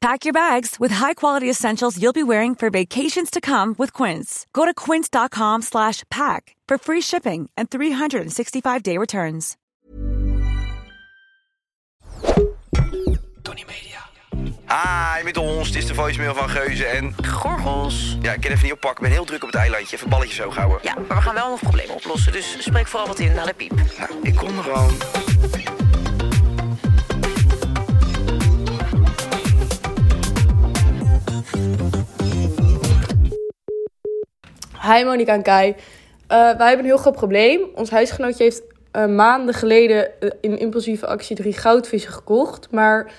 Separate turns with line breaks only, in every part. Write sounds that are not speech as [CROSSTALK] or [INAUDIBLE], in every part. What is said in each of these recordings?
Pack your bags with high-quality essentials you'll be wearing for vacations to come with Quince. Go to quince.com slash pack for free shipping and 365-day returns.
Tony Media. Hi, met ons. Het is de voicemail van Geuze en...
Gorgels.
Ja, ik kan even niet oppakken. Ik ben heel druk op het eilandje. Even balletjes zo houden.
Ja, maar we gaan wel nog problemen oplossen. Dus spreek vooral wat in naar de piep.
Nou, ik kom er gewoon.
Hi Monika en Kai. Eh, wij hebben een heel groot probleem. Ons huisgenootje heeft eh, maanden geleden eh, in impulsieve actie drie goudvissen gekocht. Maar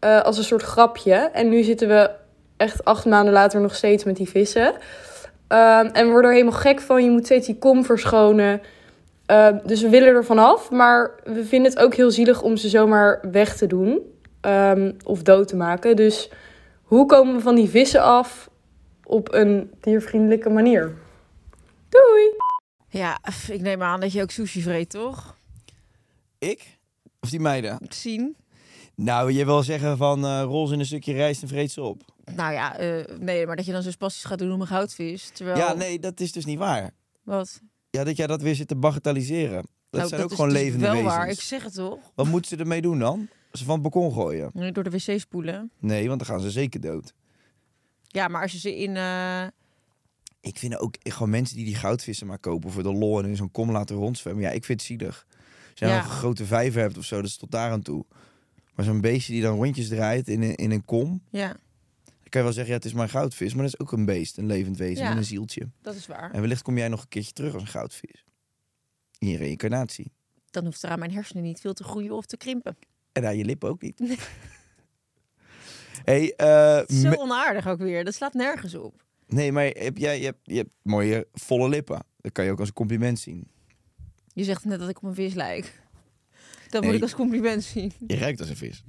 eh, als een soort grapje. En nu zitten we echt acht maanden later nog steeds met die vissen. Ehm, en we worden er helemaal gek van. Je moet steeds die kom verschonen. Ehm, dus we willen er vanaf. Maar we vinden het ook heel zielig om ze zomaar weg te doen. ehm, of dood te maken. Dus hoe komen we van die vissen af op een diervriendelijke manier? Doei!
Ja, f- ik neem aan dat je ook sushi vreet, toch?
Ik? Of die meiden?
Moet zien.
Nou, je wil zeggen van eh rol ze in een stukje rijst en vreet ze op.
Nou ja, eh, nee, maar dat je dan zo spastisch gaat doen om een goudvis. Terwijl,
Ja, nee, dat is dus niet waar.
Wat?
Ja, dat jij dat weer zit te bagatelliseren. Dat
Nou,
zijn ook
is
gewoon
dus
levende
wel
wezens.
waar, ik zeg het toch?
Wat moeten ze ermee doen dan? Ze van het balkon gooien?
Nee, Door de wc spoelen.
Nee, want dan gaan ze zeker dood.
Ja, maar als je ze in... eh,
Ik vind ook gewoon mensen die die goudvissen maar kopen voor de lol en in zo'n kom laten rondzwemmen. Ja, ik vind het zielig. Als je
Ja.
nog een grote vijver hebt of zo, dat is tot daar aan toe. Maar zo'n beestje die dan rondjes draait in een, in een kom,
ja,
dan kan je wel zeggen, ja, het is maar een goudvis. Maar dat is ook een beest, een levend wezen
Ja.
met een zieltje.
dat is waar.
En wellicht kom jij nog een keertje terug als een goudvis. In je reïncarnatie.
Dan hoeft er aan mijn hersenen niet veel te groeien of te krimpen.
En aan je lippen ook niet. [LAUGHS] hey, eh,
Zo
me-
onaardig ook weer, dat slaat nergens op.
nee, maar heb jij, je, hebt, je hebt mooie volle lippen. Dat kan je ook als een compliment zien.
Je zegt net dat ik op een vis lijk. Dat
Nee.
moet ik als compliment zien.
Je ruikt als een vis.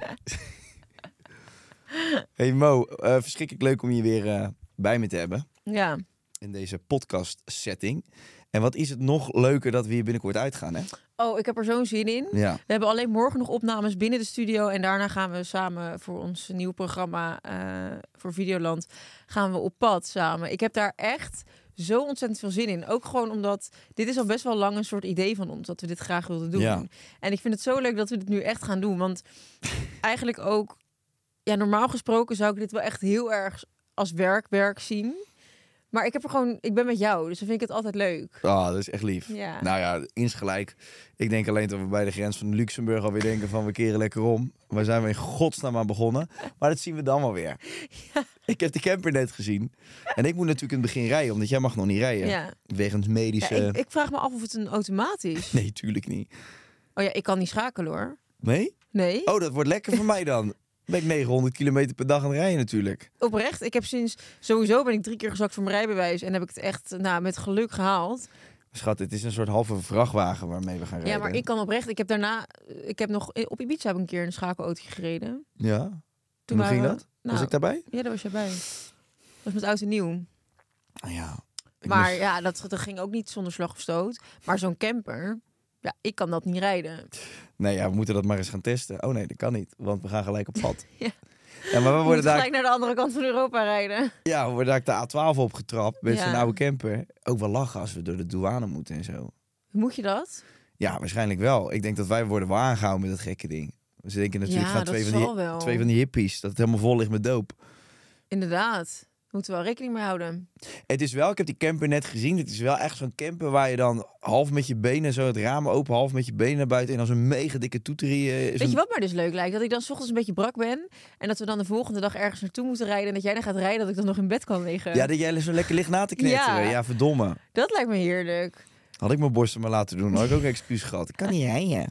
hey Mo, eh verschrikkelijk leuk om je weer eh, bij me te hebben.
Ja.
In deze podcast setting. En wat is het nog leuker dat we hier binnenkort uitgaan, hè?
Oh, ik heb er zo'n zin in.
Ja.
We hebben alleen morgen nog opnames binnen de studio. En daarna gaan we samen voor ons nieuw programma eh, voor Videoland gaan we op pad samen. Ik heb daar echt zo ontzettend veel zin in. Ook gewoon omdat dit is al best wel lang een soort idee van ons dat we dit graag wilden doen.
Ja.
En ik vind het zo leuk dat we dit nu echt gaan doen. Want eigenlijk ook, ja, normaal gesproken zou ik dit wel echt heel erg als werkwerk zien. Maar ik heb er gewoon, ik ben met jou, dus dan vind ik het altijd leuk.
Ah, dat is echt lief.
Ja.
Nou ja, insgelijk. Ik denk alleen dat we bij de grens van Luxemburg alweer denken van we keren lekker om. Waar zijn we in godsnaam aan begonnen? Maar dat zien we dan wel weer. Ik heb de camper net gezien. En ik moet natuurlijk in het begin rijden, omdat jij mag nog niet rijden.
Ja.
Wegens
Ja,
medische...
ik, ik vraag me af of het een automatisch.
eh, Nee, tuurlijk niet.
Oh ja, ik kan niet schakelen hoor.
Nee?
Nee.
Oh, dat wordt lekker voor mij dan. Ben ik 900 kilometer per dag aan het rijden natuurlijk.
oprecht. Ik heb sinds sowieso ben ik drie keer gezakt voor mijn rijbewijs en heb ik het echt nou, met geluk gehaald.
Schat, het is een soort halve vrachtwagen waarmee we gaan rijden.
Ja, maar ik kan oprecht. Ik heb daarna, eh, ik heb nog op Ibiza heb ik een keer een schakelauto gereden.
Ja? Toen Hoe
waren
ging
we-
dat?
nou,
Was ik daarbij?
Ja, daar was jij bij. Dat was met oud en nieuw.
Ah, Ja. Ik
Maar
moest-
ja, dat, dat ging ook niet zonder slag of stoot. Maar zo'n camper, ja, ik kan dat niet rijden.
Nee, ja, we moeten dat maar eens gaan testen. Oh nee, dat kan niet, want we gaan gelijk op pad.
[LAUGHS] Ja.
Ja, maar we
We moet
worden daar,
gelijk naar de andere kant van Europa rijden.
ja, we worden daar de A12 opgetrapt met
Ja.
zo'n oude camper. Ook wel lachen als we door de douane moeten en zo.
Moet je dat?
Ja, waarschijnlijk wel. Ik denk dat wij worden wel aangehouden met dat gekke ding. Ze denken natuurlijk
Ja,
gaan
dat
twee van,
zal
die,
wel.
twee van die hippies, dat het helemaal vol ligt met doop.
Inderdaad. Moeten we wel rekening mee houden.
Het is wel, ik heb die camper net gezien. Het is wel echt zo'n camper waar je dan half met je benen zo het raam open, half met je benen naar buiten en als een mega dikke toeterie. eh, zo'n-
Weet je wat mij dus leuk lijkt? Dat ik dan 's ochtends een beetje brak ben. En dat we dan de volgende dag ergens naartoe moeten rijden. En dat jij dan gaat rijden dat ik dan nog in bed kan liggen.
Ja, dat jij zo lekker ligt na te knetteren. Ja.
eh? Ja.
verdomme.
Dat lijkt me heerlijk.
Had ik mijn borsten maar laten doen, had ik ook een excuus gehad. Ik kan niet rijden.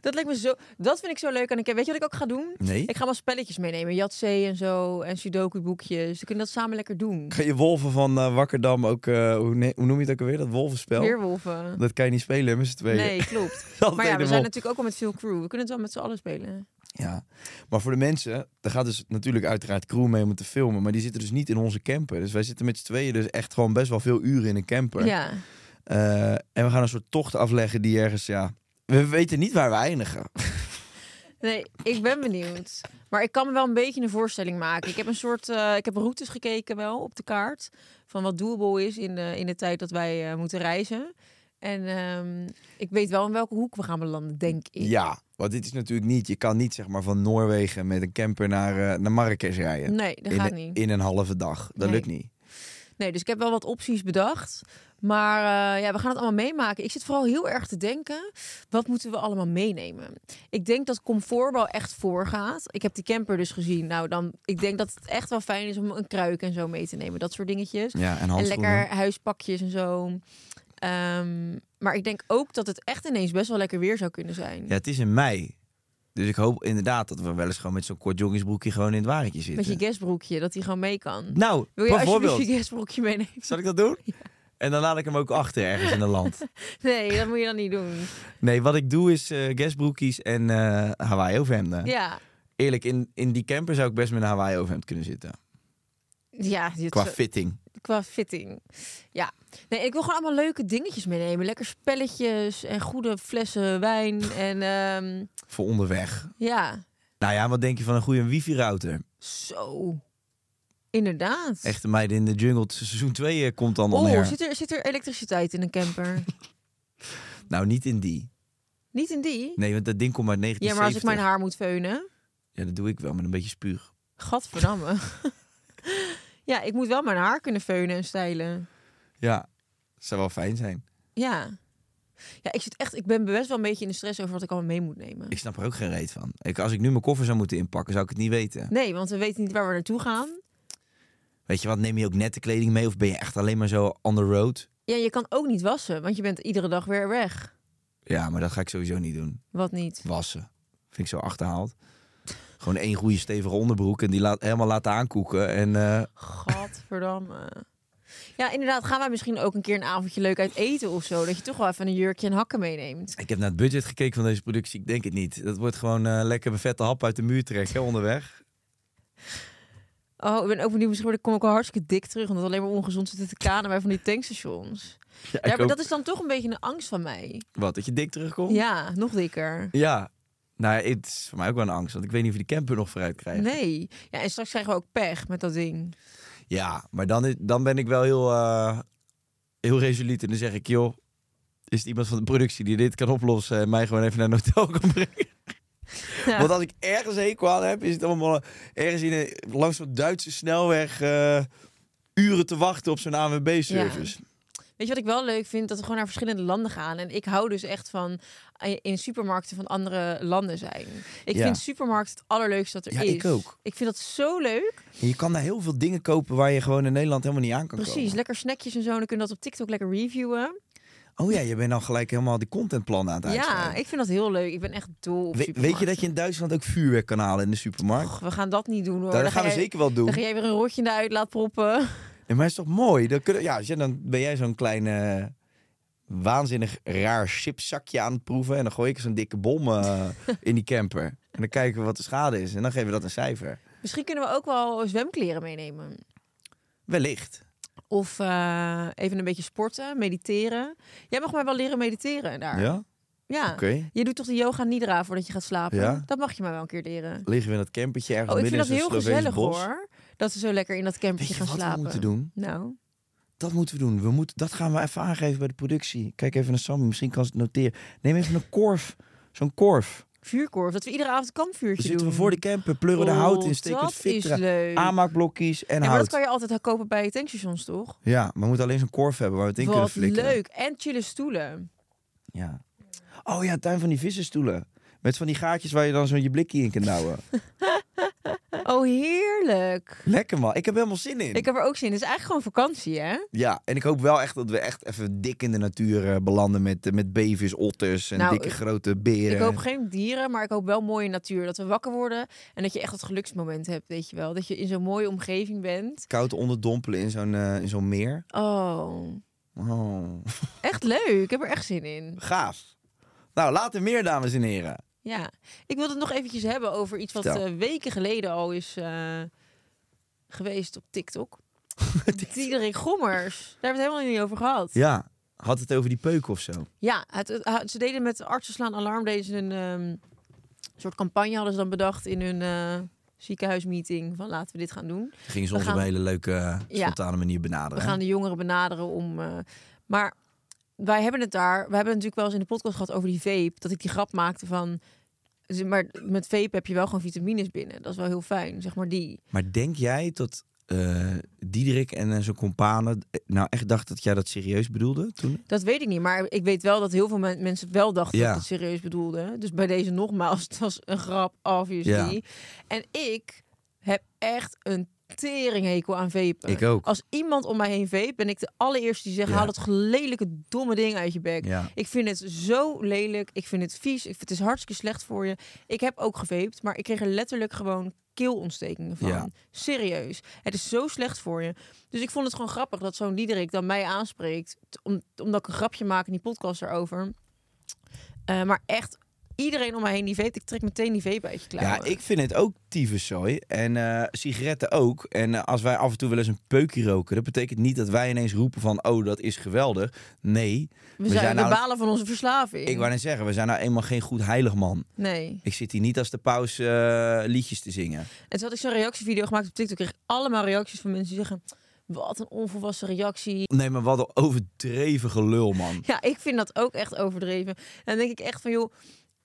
Dat lijkt me zo. Dat vind ik zo leuk. En ik, weet je wat ik ook ga doen?
Nee.
Ik ga wel spelletjes meenemen. Jatzee en zo. En Sudoku boekjes. We kunnen dat samen lekker doen.
Ga je wolven van eh, Wakkerdam ook, eh, hoe, ne- hoe noem je het ook alweer, dat wolvenspel?
Weerwolven.
Dat kan je niet spelen met z'n tweeën.
Nee,
[LAUGHS]
klopt.
Altijd
maar ja, we
de
zijn
wolf.
natuurlijk ook al met veel crew. We kunnen het wel met z'n allen spelen.
Ja, maar voor de mensen, daar gaat dus natuurlijk uiteraard crew mee om het te filmen. Maar die zitten dus niet in onze camper. Dus wij zitten met z'n tweeën dus echt gewoon best wel veel uren in een camper.
Ja.
Eh, en we gaan een soort tocht afleggen die ergens, ja... We weten niet waar we eindigen. [LAUGHS]
Nee, ik ben benieuwd. Maar ik kan me wel een beetje een voorstelling maken. Ik heb een soort, eh, ik heb routes gekeken wel op de kaart van wat doable is in de, in de tijd dat wij eh, moeten reizen. En ehm, ik weet wel in welke hoek we gaan belanden, denk ik.
Ja, want dit is natuurlijk niet... Je kan niet zeg maar van Noorwegen met een camper naar, eh, naar Marrakesh rijden.
Nee, dat
in,
gaat
een-
niet.
In een halve dag. Dat
Nee.
lukt niet.
Nee, dus ik heb wel wat opties bedacht. Maar eh, ja, we gaan het allemaal meemaken. Ik zit vooral heel erg te denken, wat moeten we allemaal meenemen? Ik denk dat comfort wel echt voorgaat. Ik heb die camper dus gezien. Nou, dan, ik denk dat het echt wel fijn is om een kruik en zo mee te nemen. Dat soort dingetjes.
Ja, en
En
handschoenen.
lekker eh, huispakjes en zo. Ehm, maar ik denk ook dat het echt ineens best wel lekker weer zou kunnen zijn.
Ja, het is in mei. Dus ik hoop inderdaad dat we wel eens gewoon met zo'n kort jongensbroekje gewoon in het wagentje zitten.
Met je guestbroekje, dat hij gewoon mee kan.
Nou,
Wil je
bijvoorbeeld.
alsjeblieft je guestbroekje meenemen? [LAUGHS]
Zal ik dat doen? En dan laat ik hem ook achter ergens in een land.
Nee, dat moet je dan niet doen.
Nee, wat ik doe is eh guestbroekies en eh, Hawaii overhemden.
Ja,
Eerlijk, in, in die camper zou ik best met een Hawaii overhemd kunnen zitten.
ja dit
Qua
zo-
fitting.
qua fitting. Ja. Nee, ik wil gewoon allemaal leuke dingetjes meenemen. Lekker spelletjes en goede flessen wijn. En ehm,
Voor onderweg.
ja,
Nou ja, wat denk je van een goede wifi-router?
zo. Inderdaad.
Echte meiden in de jungle, t- seizoen 2 komt dan on
Oh,
air.
zit er, zit er elektriciteit in een camper?
Nou, niet in die.
niet in die?
Nee, want dat ding komt uit
Ja, maar als ik
1970.
mijn haar moet veunen.
Ja, dat doe ik wel met een beetje spuug.
Gadverdamme. [LAUGHS] ja, ik moet wel mijn haar kunnen veunen en stijlen.
Ja, zou wel fijn zijn.
Ja. Ja, ik zit echt, ik ben best wel een beetje in de stress over wat ik allemaal mee moet nemen.
Ik snap er ook geen reet van. Ik, als ik nu mijn koffer zou moeten inpakken, zou ik het niet weten.
Nee, want we weten niet waar we naartoe gaan.
Weet je wat, neem je ook nette kleding mee of ben je echt alleen maar zo on the road?
Ja, je kan ook niet wassen, want je bent iedere dag weer weg.
Ja, maar dat ga ik sowieso niet doen.
Wat niet?
Wassen. Vind ik zo achterhaald. Gewoon één goede stevige onderbroek en die laat, helemaal laten aankoeken. En eh,
Gadverdamme. Ja, inderdaad, gaan wij misschien ook een keer een avondje leuk uit eten of zo. Dat je toch wel even een jurkje en hakken meeneemt.
ik heb naar het budget gekeken van deze productie. Ik denk het niet. Dat wordt gewoon eh, lekker een vette hap uit de muur trekken onderweg.
Oh, ik ben ook benieuwd, misschien word ik- kom ik wel hartstikke dik terug. Omdat we alleen maar ongezond zitten te kanen bij van die tankstations.
Ja,
Ja, maar dat is dan toch een beetje een angst van mij.
Wat, dat je dik terugkomt?
Ja, nog dikker.
Ja. Nou, ja, het is voor mij ook wel een angst. Want ik weet niet of je die camper nog vooruit krijgt.
Nee. Ja, en straks krijgen we ook pech met dat ding.
Ja, maar dan, is- dan ben ik wel heel, eh, heel resoluut. En dan zeg ik, joh, is er iemand van de productie die dit kan oplossen en mij gewoon even naar een hotel kan brengen?
Ja.
Want als ik ergens hekel aan heb, is het allemaal ergens in een, langs zo'n Duitse snelweg eh, uren te wachten op zo'n AWB-service.
Weet je wat ik wel leuk vind? Dat we gewoon naar verschillende landen gaan. En ik hou dus echt van eh, in supermarkten van andere landen zijn. Ik
Ja.
vind supermarkt het allerleukste dat er
Ja,
is.
ik ook.
Ik vind dat zo leuk.
En Je kan daar heel veel dingen kopen waar je gewoon in Nederland helemaal niet aan kan
Precies,
komen.
lekker snackjes en zo. En dan kunnen we dat op TikTok lekker reviewen.
Oh ja, je bent dan gelijk helemaal die contentplannen aan het
Ja,
uitschrijven.
ik vind dat heel leuk. Ik ben echt dol op
We- weet je dat je in Duitsland ook vuurwerk kan halen in de supermarkt?
supermarkten. We gaan dat niet doen hoor.
Nou, dat
Dan
gaan
ga
we
jij-
zeker wel doen.
Dan ga jij weer een rotje in de uitlaat proppen. [LAUGHS]
Ja, maar het is toch mooi? Dan, kun, ja, als je- dan ben jij zo'n klein eh, waanzinnig raar chipzakje aan het proeven. En dan gooi ik zo'n dikke bom eh,
[LAUGHS]
in die camper. En dan kijken we wat de schade is. En dan geven we dat een cijfer.
Misschien kunnen we ook wel zwemkleren meenemen.
Wellicht.
Of eh, even een beetje sporten, mediteren. Jij mag mij wel leren mediteren daar.
Ja?
Ja.
Oké.
Je doet toch de yoga nidra voordat je gaat slapen?
Ja.
Dat mag je mij wel een keer leren.
Liggen we in dat campertje ergens
Oh, ik vind
midden
dat heel
in zo'n Sloveens
gezellig
bos.
hoor. Dat ze zo lekker in dat
Weet
campertje
je
gaan
wat
slapen.
we moeten doen?
Nou,
Dat moeten we doen. We moeten, dat gaan we even aangeven bij de productie. Kijk even naar Sam. Misschien kan ze het noteren. Neem even een korf. Zo'n korf.
Vuurkorf. Dat we iedere avond kampvuurtje
Zitten we
doen.
voor de camper, pleuren de hout in,
Oh,
steken het
Dat
fit
is
eraan.
leuk.
Aanmaakblokjes en
Ja, maar dat
hout.
kan je altijd kopen bij tankstations, toch?
Ja, maar we moeten alleen zo'n korf hebben waar we het in kunnen
Wat
flikkeren.
leuk. En chille stoelen.
Ja. Oh ja, tuin van die vissenstoelen. Met van die gaatjes waar je dan zo'n je blikje in kan
[LAUGHS]
douwen.
Oh, heerlijk.
Lekker man, ik heb helemaal zin in.
Ik heb er ook zin in. Het is eigenlijk gewoon vakantie, hè?
Ja, en ik hoop wel echt dat we echt even dik in de natuur eh, belanden met, eh, met bevers, otters en
Nou,
dikke
ik-
grote beren.
Ik hoop geen dieren, maar ik hoop wel mooie natuur. Dat we wakker worden en dat je echt dat geluksmoment hebt, weet je wel. Dat je in zo'n mooie omgeving bent.
Koud onderdompelen in zo'n eh, in zo'n meer.
Oh,
Oh. [LAUGHS]
echt leuk. Ik heb er echt zin in.
Gaaf. Nou, later meer, dames en heren.
Ja. Ik wilde het nog eventjes hebben over iets wat
Vertel.
eh, weken geleden al is eh, geweest op TikTok.
[LAUGHS]
Diederik Gommers. Daar hebben we het helemaal niet over gehad.
Ja, had het over die peuk of zo?
Ja, het, het- het- ze deden met artsen slaan alarm. Deden ze een ehm, soort campagne hadden ze dan bedacht in hun eh, ziekenhuismeeting. Van laten we dit gaan doen.
Ging ze
We
ons op
gaan-
een hele leuke, eh,
Ja.
spontane manier
We
benaderen.
gaan de jongeren benaderen om. eh, maar wij hebben het daar. We hebben het natuurlijk wel eens in de podcast gehad over die vape. Dat ik die grap maakte van. ze- Maar met vape heb je wel gewoon vitamines binnen. Dat is wel heel fijn. Zeg maar die.
Maar denk jij dat eh Diederik en eh, zijn companen eh, nou echt dachten dat jij dat serieus bedoelde toen?
Dat weet ik niet. Maar ik weet wel dat heel veel men- mensen het wel dachten
Ja.
dat ik het serieus bedoelde. Dus bij deze nogmaals, [LAUGHS] het was een grap, obviously.
Ja.
En ik heb echt een teringhekel aan vapen.
Ik ook.
Als iemand om mij heen vape, ben ik de allereerste die zegt...
Ja.
haal dat lelijke, domme ding uit je bek.
Ja.
Ik vind het zo lelijk. Ik vind het vies. Ik, het is hartstikke slecht voor je. Ik heb ook gevaped, maar ik kreeg er letterlijk gewoon keelontstekingen van.
Ja.
Serieus. Het is zo slecht voor je. Dus ik vond het gewoon grappig dat zo'n Diederik dan mij aanspreekt. t- Om, omdat ik een grapje maak in die podcast erover. Eh, maar echt, iedereen om mij heen die vape, ik trek meteen die vape uit je klauwen.
Ja, ik vind het ook tyfuszooi. En eh, sigaretten ook. En eh, als wij af en toe wel eens een peukje roken... dat betekent niet dat wij ineens roepen van... oh, dat is geweldig. Nee.
we, zijn, we
nou,
balen van onze verslaving.
ik wou net zeggen, we zijn nou eenmaal geen goed heilig man.
Nee.
Ik zit hier niet als de paus eh, liedjes te zingen.
En toen had ik zo'n reactievideo gemaakt op TikTok. kreeg ik allemaal reacties van mensen die zeggen... Wat een onvolwassen reactie.
Nee, maar wat een overdreven gelul, man.
Ja, ik vind dat ook echt overdreven. En dan denk ik echt van, joh,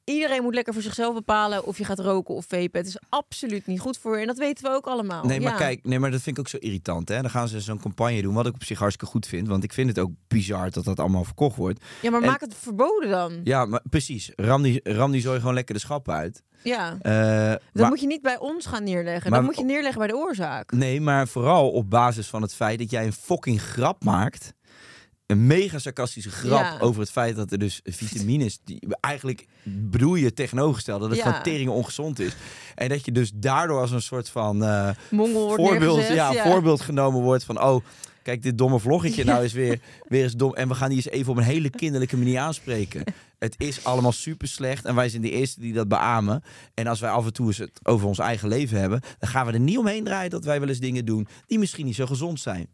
iedereen moet lekker voor zichzelf bepalen of je gaat roken of vapen. Het is absoluut niet goed voor je en dat weten we ook allemaal.
Nee, maar
Oh, Ja.
kijk, nee, maar dat vind ik ook zo irritant. Hè? Dan gaan ze zo'n campagne doen, wat ik op zich hartstikke goed vind. Want ik vind het ook bizar dat dat allemaal verkocht wordt.
Ja, maar
en-
maak het verboden dan. Ja,
Ja, maar precies. Ram die, ram die zooi gewoon lekker de schap uit. Eh,
dat
maar-
moet je niet bij ons gaan neerleggen.
maar-
dat moet je neerleggen bij de oorzaak.
Nee, maar vooral op basis van het feit dat jij een fucking grap maakt. Een mega sarcastische grap
Ja.
over het feit dat er dus vitamines... Die, eigenlijk bedoel je het tegenovergestelde, dat het
Ja.
van teringen ongezond is. En dat je dus daardoor als een soort van eh,
Mongol wordt
voorbeeld,
neergezet,
ja,
ja.
voorbeeld genomen wordt van... oh, kijk dit domme vloggetje nou is weer, weer eens dom. En we gaan die eens even op een hele kinderlijke manier aanspreken. Het is allemaal super slecht en wij zijn de eerste die dat beamen. En als wij af en toe eens het over ons eigen leven hebben... dan gaan we er niet omheen draaien dat wij wel eens dingen doen... die misschien niet zo gezond zijn.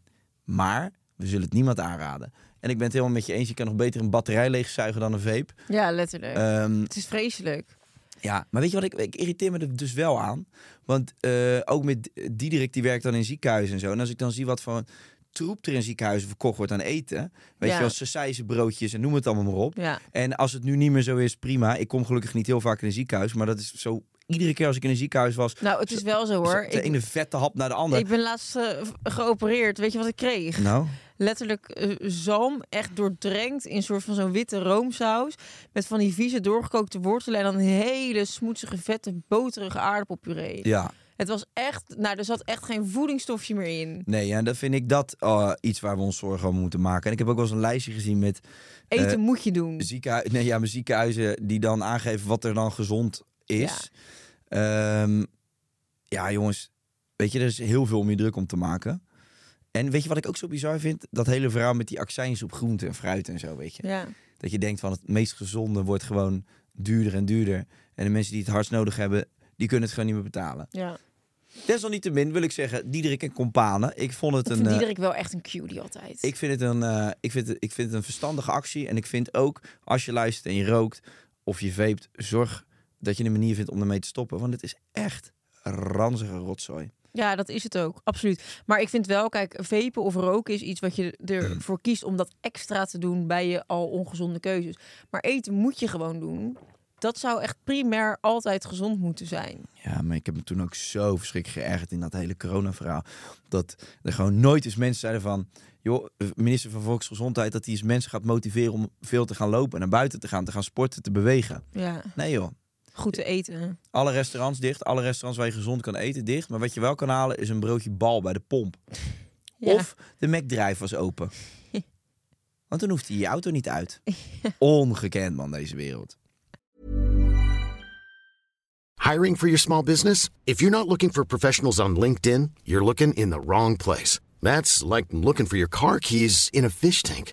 Maar we zullen het niemand aanraden. En ik ben het helemaal met je eens. Je kan nog beter een batterij leegzuigen dan een vape.
Ja, letterlijk.
Ehm,
het is vreselijk.
ja, maar weet je wat, ik, ik irriteer me er dus wel aan. Want eh, ook met Diederik, die werkt dan in ziekenhuizen en zo. En als ik dan zie wat van troep er in ziekenhuizen verkocht wordt aan eten. Weet
Ja.
je wel, sausijzenbroodjes en noem het allemaal maar op.
Ja.
En als het nu niet meer zo is, prima. Ik kom gelukkig niet heel vaak in een ziekenhuis. Maar dat is zo, iedere keer als ik in een ziekenhuis was...
Nou, het is wel zo hoor.
De
Ik,
ene vette hap naar de andere.
ik ben laatst eh, geopereerd. Weet je wat ik kreeg?
Nou,
letterlijk eh, zalm echt doordrenkt in een soort van zo'n witte roomsaus met van die vieze doorgekookte wortelen en dan een hele smoetsige vette boterige aardappelpuree.
ja.
Het was echt, nou er zat echt geen voedingsstofje meer in.
Nee, ja, dan vind ik dat eh, iets waar we ons zorgen om moeten maken. En ik heb ook wel eens een lijstje gezien met
Eten
Eh,
moet je doen.
ziekenhuizen, nee, ja, maar ziekenhuizen die dan aangeven wat er dan gezond is. Ja, ja jongens, weet je, er is heel veel om je druk om te maken. En weet je wat ik ook zo bizar vind? Dat hele verhaal met die accijns op groente en fruit en zo, weet je.
Ja.
Dat je denkt van het meest gezonde wordt gewoon duurder en duurder. En de mensen die het hardst nodig hebben, die kunnen het gewoon niet meer betalen.
Ja.
Desalniettemin wil ik zeggen, Diederik en Companen, ik vond het
Ik
een...
vind
eh,
Diederik wel echt een cutie altijd.
ik vind, het een, eh, ik, vind het, ik vind het een verstandige actie. En ik vind ook, als je luistert en je rookt of je veept, zorg dat je een manier vindt om ermee te stoppen. Want het is echt ranzige rotzooi.
Ja, dat is het ook, absoluut. Maar ik vind wel, kijk, vapen of roken is iets wat je
[CLEARS THROAT]
ervoor kiest om dat extra te doen bij je al ongezonde keuzes. Maar eten moet je gewoon doen. Dat zou echt primair altijd gezond moeten zijn.
Ja, maar ik heb me toen ook zo verschrikkelijk geërgerd in dat hele corona-verhaal. Dat er gewoon nooit eens mensen zeiden van... joh, minister van Volksgezondheid, dat hij eens mensen gaat motiveren om veel te gaan lopen... en naar buiten te gaan, te gaan sporten, te bewegen.
Ja,
Nee joh,
goed te eten.
alle restaurants dicht, alle restaurants waar je gezond kan eten dicht... maar wat je wel kan halen is een broodje bal bij de pomp.
Ja.
Of de McDrive was
[LAUGHS]
open. Want dan hoeft hij je auto niet uit. Ongekend man, deze wereld.
Hiring for your small business? If you're not looking for professionals on LinkedIn, you're looking in the wrong place. That's like looking for your car keys in a fish tank.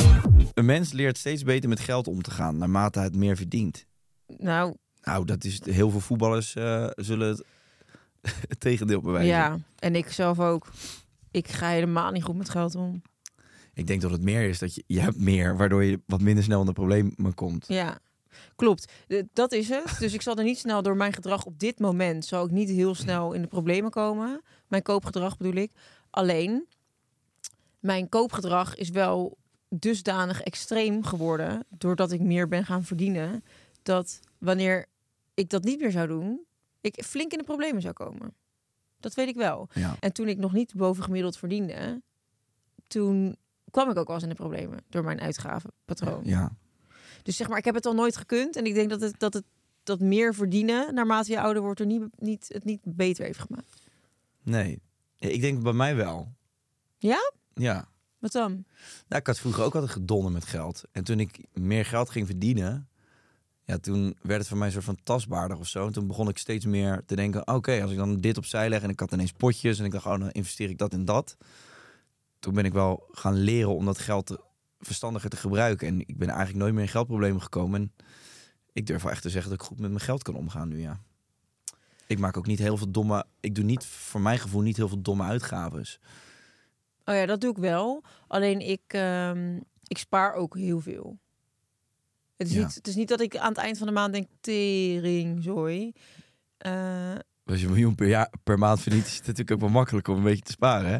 een mens leert steeds beter met geld om te gaan naarmate het meer verdient.
Nou,
Nou, dat is heel veel voetballers eh, zullen het, [LAUGHS] het tegendeel bewijzen.
ja. En ik zelf ook. Ik ga helemaal niet goed met geld om.
Ik denk dat het meer is dat je, je hebt meer, waardoor je wat minder snel in de problemen komt.
Ja, klopt. Eh, Dat is het. Dus ik zal er niet snel door mijn gedrag op dit moment... zal ik niet heel snel in de problemen komen. Mijn koopgedrag bedoel ik. Alleen, mijn koopgedrag is wel dusdanig extreem geworden... doordat ik meer ben gaan verdienen... dat wanneer ik dat niet meer zou doen... ik flink in de problemen zou komen. Dat weet ik wel.
Ja.
En toen ik nog niet bovengemiddeld verdiende... toen kwam ik ook wel eens in de problemen... door mijn uitgavenpatroon.
Ja.
Dus zeg maar, ik heb het al nooit gekund. En ik denk dat het, dat het dat meer verdienen naarmate je ouder wordt er niet, niet, het niet beter heeft gemaakt.
Nee. Ik denk bij mij wel.
Ja?
Ja.
Wat dan?
Nou, ik had vroeger ook altijd gedonnen met geld. En toen ik meer geld ging verdienen, ja, toen werd het voor mij een soort van tastbaarder of zo. En toen begon ik steeds meer te denken, oké, als ik dan dit opzij leg en ik had ineens potjes en ik dacht, oh, dan investeer ik dat en dat. Toen ben ik wel gaan leren om dat geld te- verstandiger te gebruiken. En ik ben eigenlijk nooit meer in geldproblemen gekomen. En ik durf wel echt te zeggen dat ik goed met mijn geld kan omgaan nu, ja. Ik maak ook niet heel veel domme... Ik doe niet, voor mijn gevoel, niet heel veel domme uitgaves.
Oh ja, dat doe ik wel. Alleen ik, ehm, ik spaar ook heel veel. Het is,
Ja.
niet, het is niet dat ik aan het eind van de maand denk, tering, Eh, sorry.
Als je een miljoen per, jaar, per maand verdient, is het natuurlijk ook wel makkelijk om een beetje te sparen. Hè?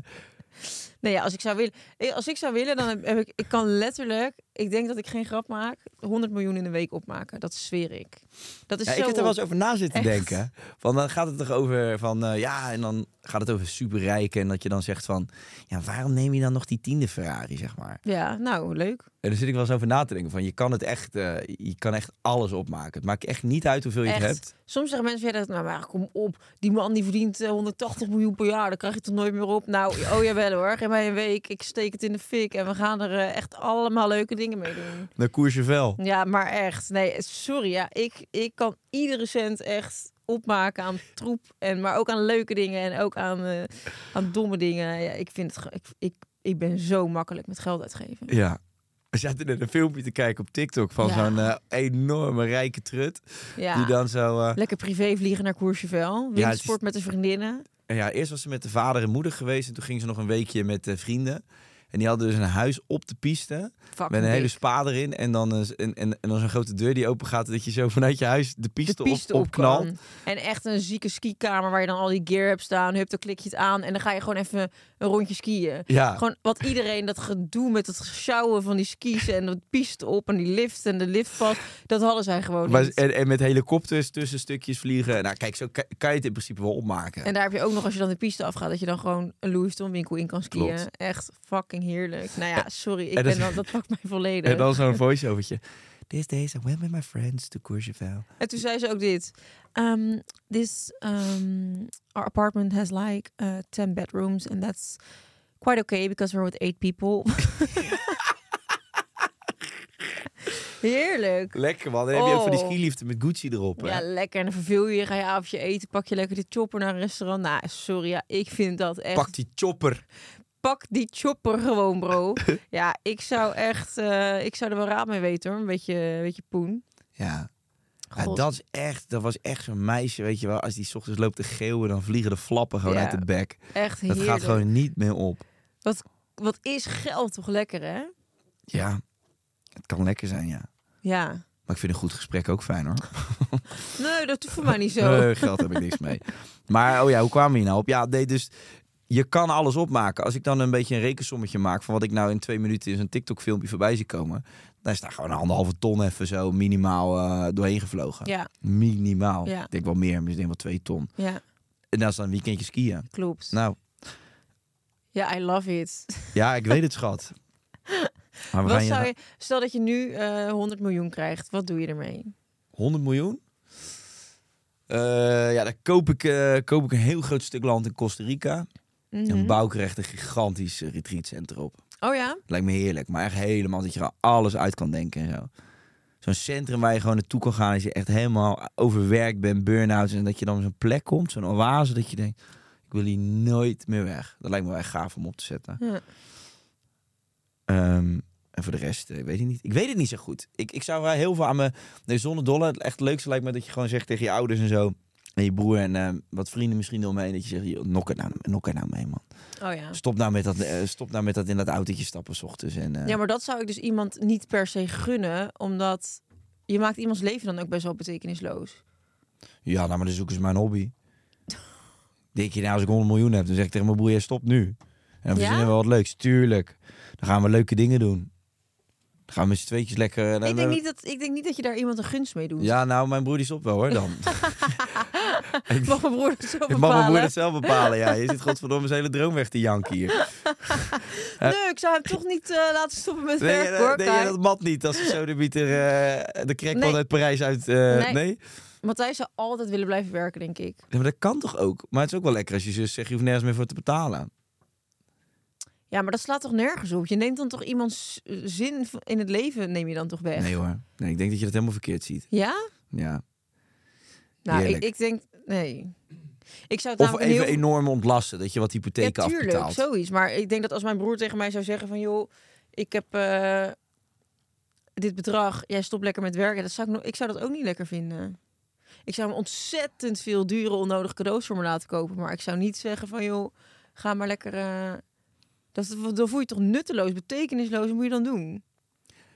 nee, ja, als ik zou willen, eh, als ik zou willen dan heb, heb ik, ik kan letterlijk, ik denk dat ik geen grap maak, 100 miljoen in een week opmaken. Dat zweer ik. Dat is
Ja,
zo
ik heb er wel eens
op.
over na zitten denken. Van dan gaat het toch over van eh, ja, en dan gaat het over superrijken. En dat je dan zegt van ja, waarom neem je dan nog die tiende Ferrari, zeg maar?
Ja, nou, leuk.
En daar zit ik wel eens over na te denken. Van je kan het echt, eh, je kan echt alles opmaken. Het maakt echt niet uit hoeveel je het
Echt.
hebt.
Soms zeggen mensen verder, nou maar kom op, die man die verdient eh, 180 miljoen per jaar, daar krijg je toch nooit meer op. Nou, oh jawel hoor, geef mij een week, ik steek het in de fik en we gaan er eh, echt allemaal leuke dingen mee doen.
Naar Courchevel.
Ja, maar echt, nee, sorry, ja, ik, ik kan iedere cent echt opmaken aan troep, en, maar ook aan leuke dingen en ook aan, eh, aan domme dingen. Ja, ik vind het, ge- ik, ik, ik ben zo makkelijk met geld uitgeven.
Ja. We zaten net een filmpje te kijken op TikTok van
Ja.
zo'n eh, enorme rijke trut.
Ja.
Die dan zo... eh,
Lekker privé vliegen naar Courchevel,
Ja, het is-
windsport met de vriendinnen.
En ja, eerst was ze met de vader en moeder geweest. En toen ging ze nog een weekje met eh, vrienden. En die hadden dus een huis op de piste.
Fucking
met een hele
dik.
spa erin. En dan, een- en, en, en dan zo'n grote deur die open gaat. Dat je zo [LAUGHS] vanuit je huis de piste,
de piste
op,
op,
opknalt.
kan. En echt een zieke skikamer waar je dan al die gear hebt staan. Hup, dan klik je het aan en dan ga je gewoon even een rondje skiën.
Ja.
Gewoon wat iedereen, dat gedoe met het sjouwen van die skis en dat piste op en die lift en de lift vast. Dat hadden zij gewoon
Maar,
niet.
en, en met helikopters tussen stukjes vliegen. Nou kijk, zo ka- kan je het in principe wel opmaken.
En daar heb je ook nog, als je dan de piste afgaat, dat je dan gewoon een Louis Vuitton winkel in kan skiën.
Klopt.
Echt fucking heerlijk. Nou ja, sorry, ik
en dat-
ben dan, dat pakt mij volledig.
En dan [LAUGHS] zo'n voice-overtje. These days I went with my friends to Courchevel.
En toen zei ze ook dit. Ehm, this um, our apartment has like uh, 10 bedrooms and that's quite okay because we're with eight people. [LAUGHS] Heerlijk.
Lekker man. En dan heb je ook van die
Oh.
skilieften met Gucci erop.
Ja,
hè?
lekker. En dan verveel je je, ga je avondje eten, pak je lekker de chopper naar een restaurant. Nou, sorry, ja, ik vind dat echt...
Pak die chopper.
pak die chopper
[LAUGHS]
gewoon, bro. ja, ik zou echt... eh, ik zou er wel raad mee weten, hoor. Een beetje, een beetje poen.
Ja. Ja,
God.
dat, is echt, dat was echt zo'n meisje, weet je wel. Als die 's ochtends loopt te geeuwen, dan vliegen de flappen gewoon
Ja.
uit de bek.
Echt
Dat
heerlijk.
gaat gewoon niet meer op.
Wat, wat is geld toch lekker, hè?
Ja, het kan lekker zijn, ja.
Ja.
Maar ik vind een goed gesprek ook fijn, hoor.
Nee, dat hoeft voor mij niet zo.
Eh, geld heb ik niks
[LAUGHS]
mee. Maar oh ja, hoe kwamen we hier nou op? Ja, nee, dus je kan alles opmaken. Als ik dan een beetje een rekensommetje maak van wat ik nou in twee minuten in zo'n TikTok-filmpje voorbij zie komen, dan is daar gewoon een anderhalve ton even zo minimaal eh, doorheen gevlogen.
Ja,
Minimaal.
Ja.
Ik denk wel meer, maar ik denk wel twee ton.
ja,
En dat is dan een weekendje skiën.
klopt.
Nou,
Ja, I love it.
ja, ik weet het, schat. Maar we
Wat
gaan
zou
je...
je, stel dat je nu eh, 100 miljoen krijgt, wat doe je ermee?
100 miljoen? Eh, ja, dan koop ik, eh, koop ik een heel groot stuk land in Costa Rica.
Mhm.
Dan bouw ik er echt een gigantisch eh, retreatcentrum op.
Oh ja?
Lijkt me heerlijk. Maar echt helemaal dat je er alles uit kan denken en zo. Zo'n centrum waar je gewoon naartoe kan gaan als je echt helemaal overwerkt bent, burn-out. En dat je dan op zo'n plek komt, zo'n oase, dat je denkt, ik wil hier nooit meer weg. Dat lijkt me wel echt gaaf om op te zetten.
Ja.
Ehm, en voor de rest, eh, weet ik niet. Ik weet het niet zo goed. Ik, ik zou wel heel veel aan mijn... Nee, zonder dolle, het echt leukste lijkt me dat je gewoon zegt tegen je ouders en zo... En je broer en eh, wat vrienden misschien omheen. Dat je zegt, joh, nok er nou, nok er nou mee, man.
Oh ja.
Stop nou met dat, eh, stop nou met dat in dat autootje stappen 's ochtends. En, eh,
Ja, maar dat zou ik dus iemand niet per se gunnen, omdat je maakt iemands leven dan ook best wel betekenisloos.
Ja, nou, maar dan zoeken ze mijn hobby. [LAUGHS] Denk je, nou, als ik 100 miljoen heb, dan zeg ik tegen mijn broer, jij stopt nu. En dan
Ja?
verzinnen we wat leuks, tuurlijk. Dan gaan we leuke dingen doen. Dan gaan we met z'n tweetjes lekker... eh,
ik, denk niet dat, ik denk niet dat je daar iemand een gunst mee doet.
Ja, nou, mijn broer die stopt wel, hoor,
[LAUGHS]
dan. ik
Mag mijn broer dat zo
ik [LAUGHS] mag mijn broer
bepalen?
dat zelf bepalen, ja. Je zit godverdomme zijn hele droom weg te janken
[LAUGHS]
hier.
Nee, ik zou hem toch niet eh, laten stoppen met
Nee,
werk,
jij-
hoor.
nee,
Kai.
jij dat mat niet als de sodemieter eh de crackpot
Nee.
uit Parijs uit... eh,
Nee.
nee?
Matthijs zou altijd willen blijven werken, denk ik.
Ja, maar dat kan toch ook? Maar het is ook wel lekker als je zus zegt, je hoeft nergens meer voor te betalen.
Ja, maar dat slaat toch nergens op? Je neemt dan toch iemands eh, zin v- in het leven, neem je dan toch weg?
Nee hoor. Nee, ik denk dat je dat helemaal verkeerd ziet.
Ja?
Ja.
Nou, ik,
Heerlijk.
ik denk... Nee. Ik zou het
Of
namelijk
even
heel...
enorm ontlasten, dat je wat hypotheken
ja, tuurlijk,
afbetaalt. Nou,
zoiets. Maar ik denk dat als mijn broer tegen mij zou zeggen van... joh, ik heb eh, dit bedrag, jij stopt lekker met werken. Dat zou ik, no- ik zou dat ook niet lekker vinden. Ik zou hem ontzettend veel dure, onnodige cadeaus voor me laten kopen. Maar ik zou niet zeggen van joh, ga maar lekker... eh, dat, dan voel je je toch nutteloos, betekenisloos. Wat moet je dan doen?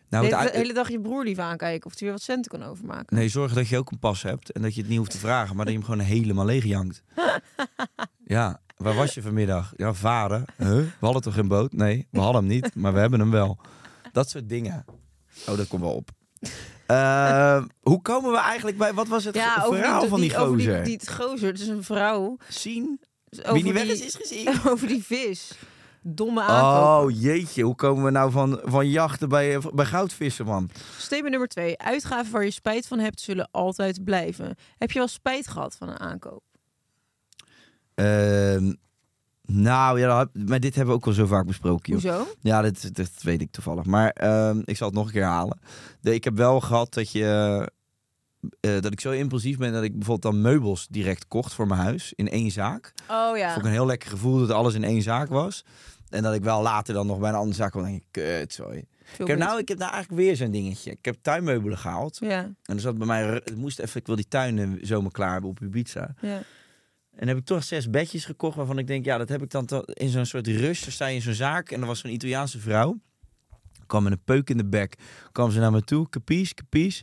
Nou, het
de, hele, de
uit-
hele dag je broer lief aankijken of hij weer wat centen kan overmaken.
Nee, zorg dat je ook een pas hebt en dat je het niet hoeft te vragen, maar dat je hem gewoon helemaal leeg
[LAUGHS]
jankt. ja, waar was je vanmiddag? Ja, varen. Huh? We hadden toch geen boot? Nee, we hadden hem niet, maar we hebben hem wel. Dat soort dingen. Oh, dat komt wel op. Eh, hoe komen we eigenlijk bij... Wat was het
Ja,
ge-
over
verhaal
die,
van die,
over
gozer?
Die, gozer, het is een vrouw.
Zien?
Over
Wie niet weg
die-
is, is gezien.
[LAUGHS] over die vis. Domme aankoop.
Oh, jeetje. Hoe komen we nou van, van jachten bij, eh, bij goudvissen, man?
Statement nummer twee. Uitgaven waar je spijt van hebt zullen altijd blijven. Heb je wel spijt gehad van een aankoop?
Ehm, nou, ja, dat heb- maar dit hebben we ook al zo vaak besproken. Joh.
Hoezo?
Ja, dit, dit weet ik toevallig. Maar ehm, ik zal het nog een keer halen. De, ik heb wel gehad dat je... eh, dat ik zo impulsief ben dat ik bijvoorbeeld dan meubels direct kocht voor mijn huis in één zaak.
Oh ja.
Vond ik een heel lekker gevoel dat alles in één zaak was. En dat ik wel later dan nog bij een andere zaak kwam en denk ik, kut, sorry. Ik heb, nou, ik heb nou eigenlijk weer zo'n dingetje. Ik heb tuinmeubelen gehaald.
Ja,
En er zat bij mij, het moest even, ik wil die tuin eh, zomer klaar hebben op Ibiza.
ja.
En heb ik toch zes bedjes gekocht waarvan ik denk, ja, dat heb ik dan toch in zo'n soort rust. Dan sta je in zo'n zaak en er was zo'n Italiaanse vrouw. Kwam met een peuk in de bek. Kwam ze naar me toe, capies, capies.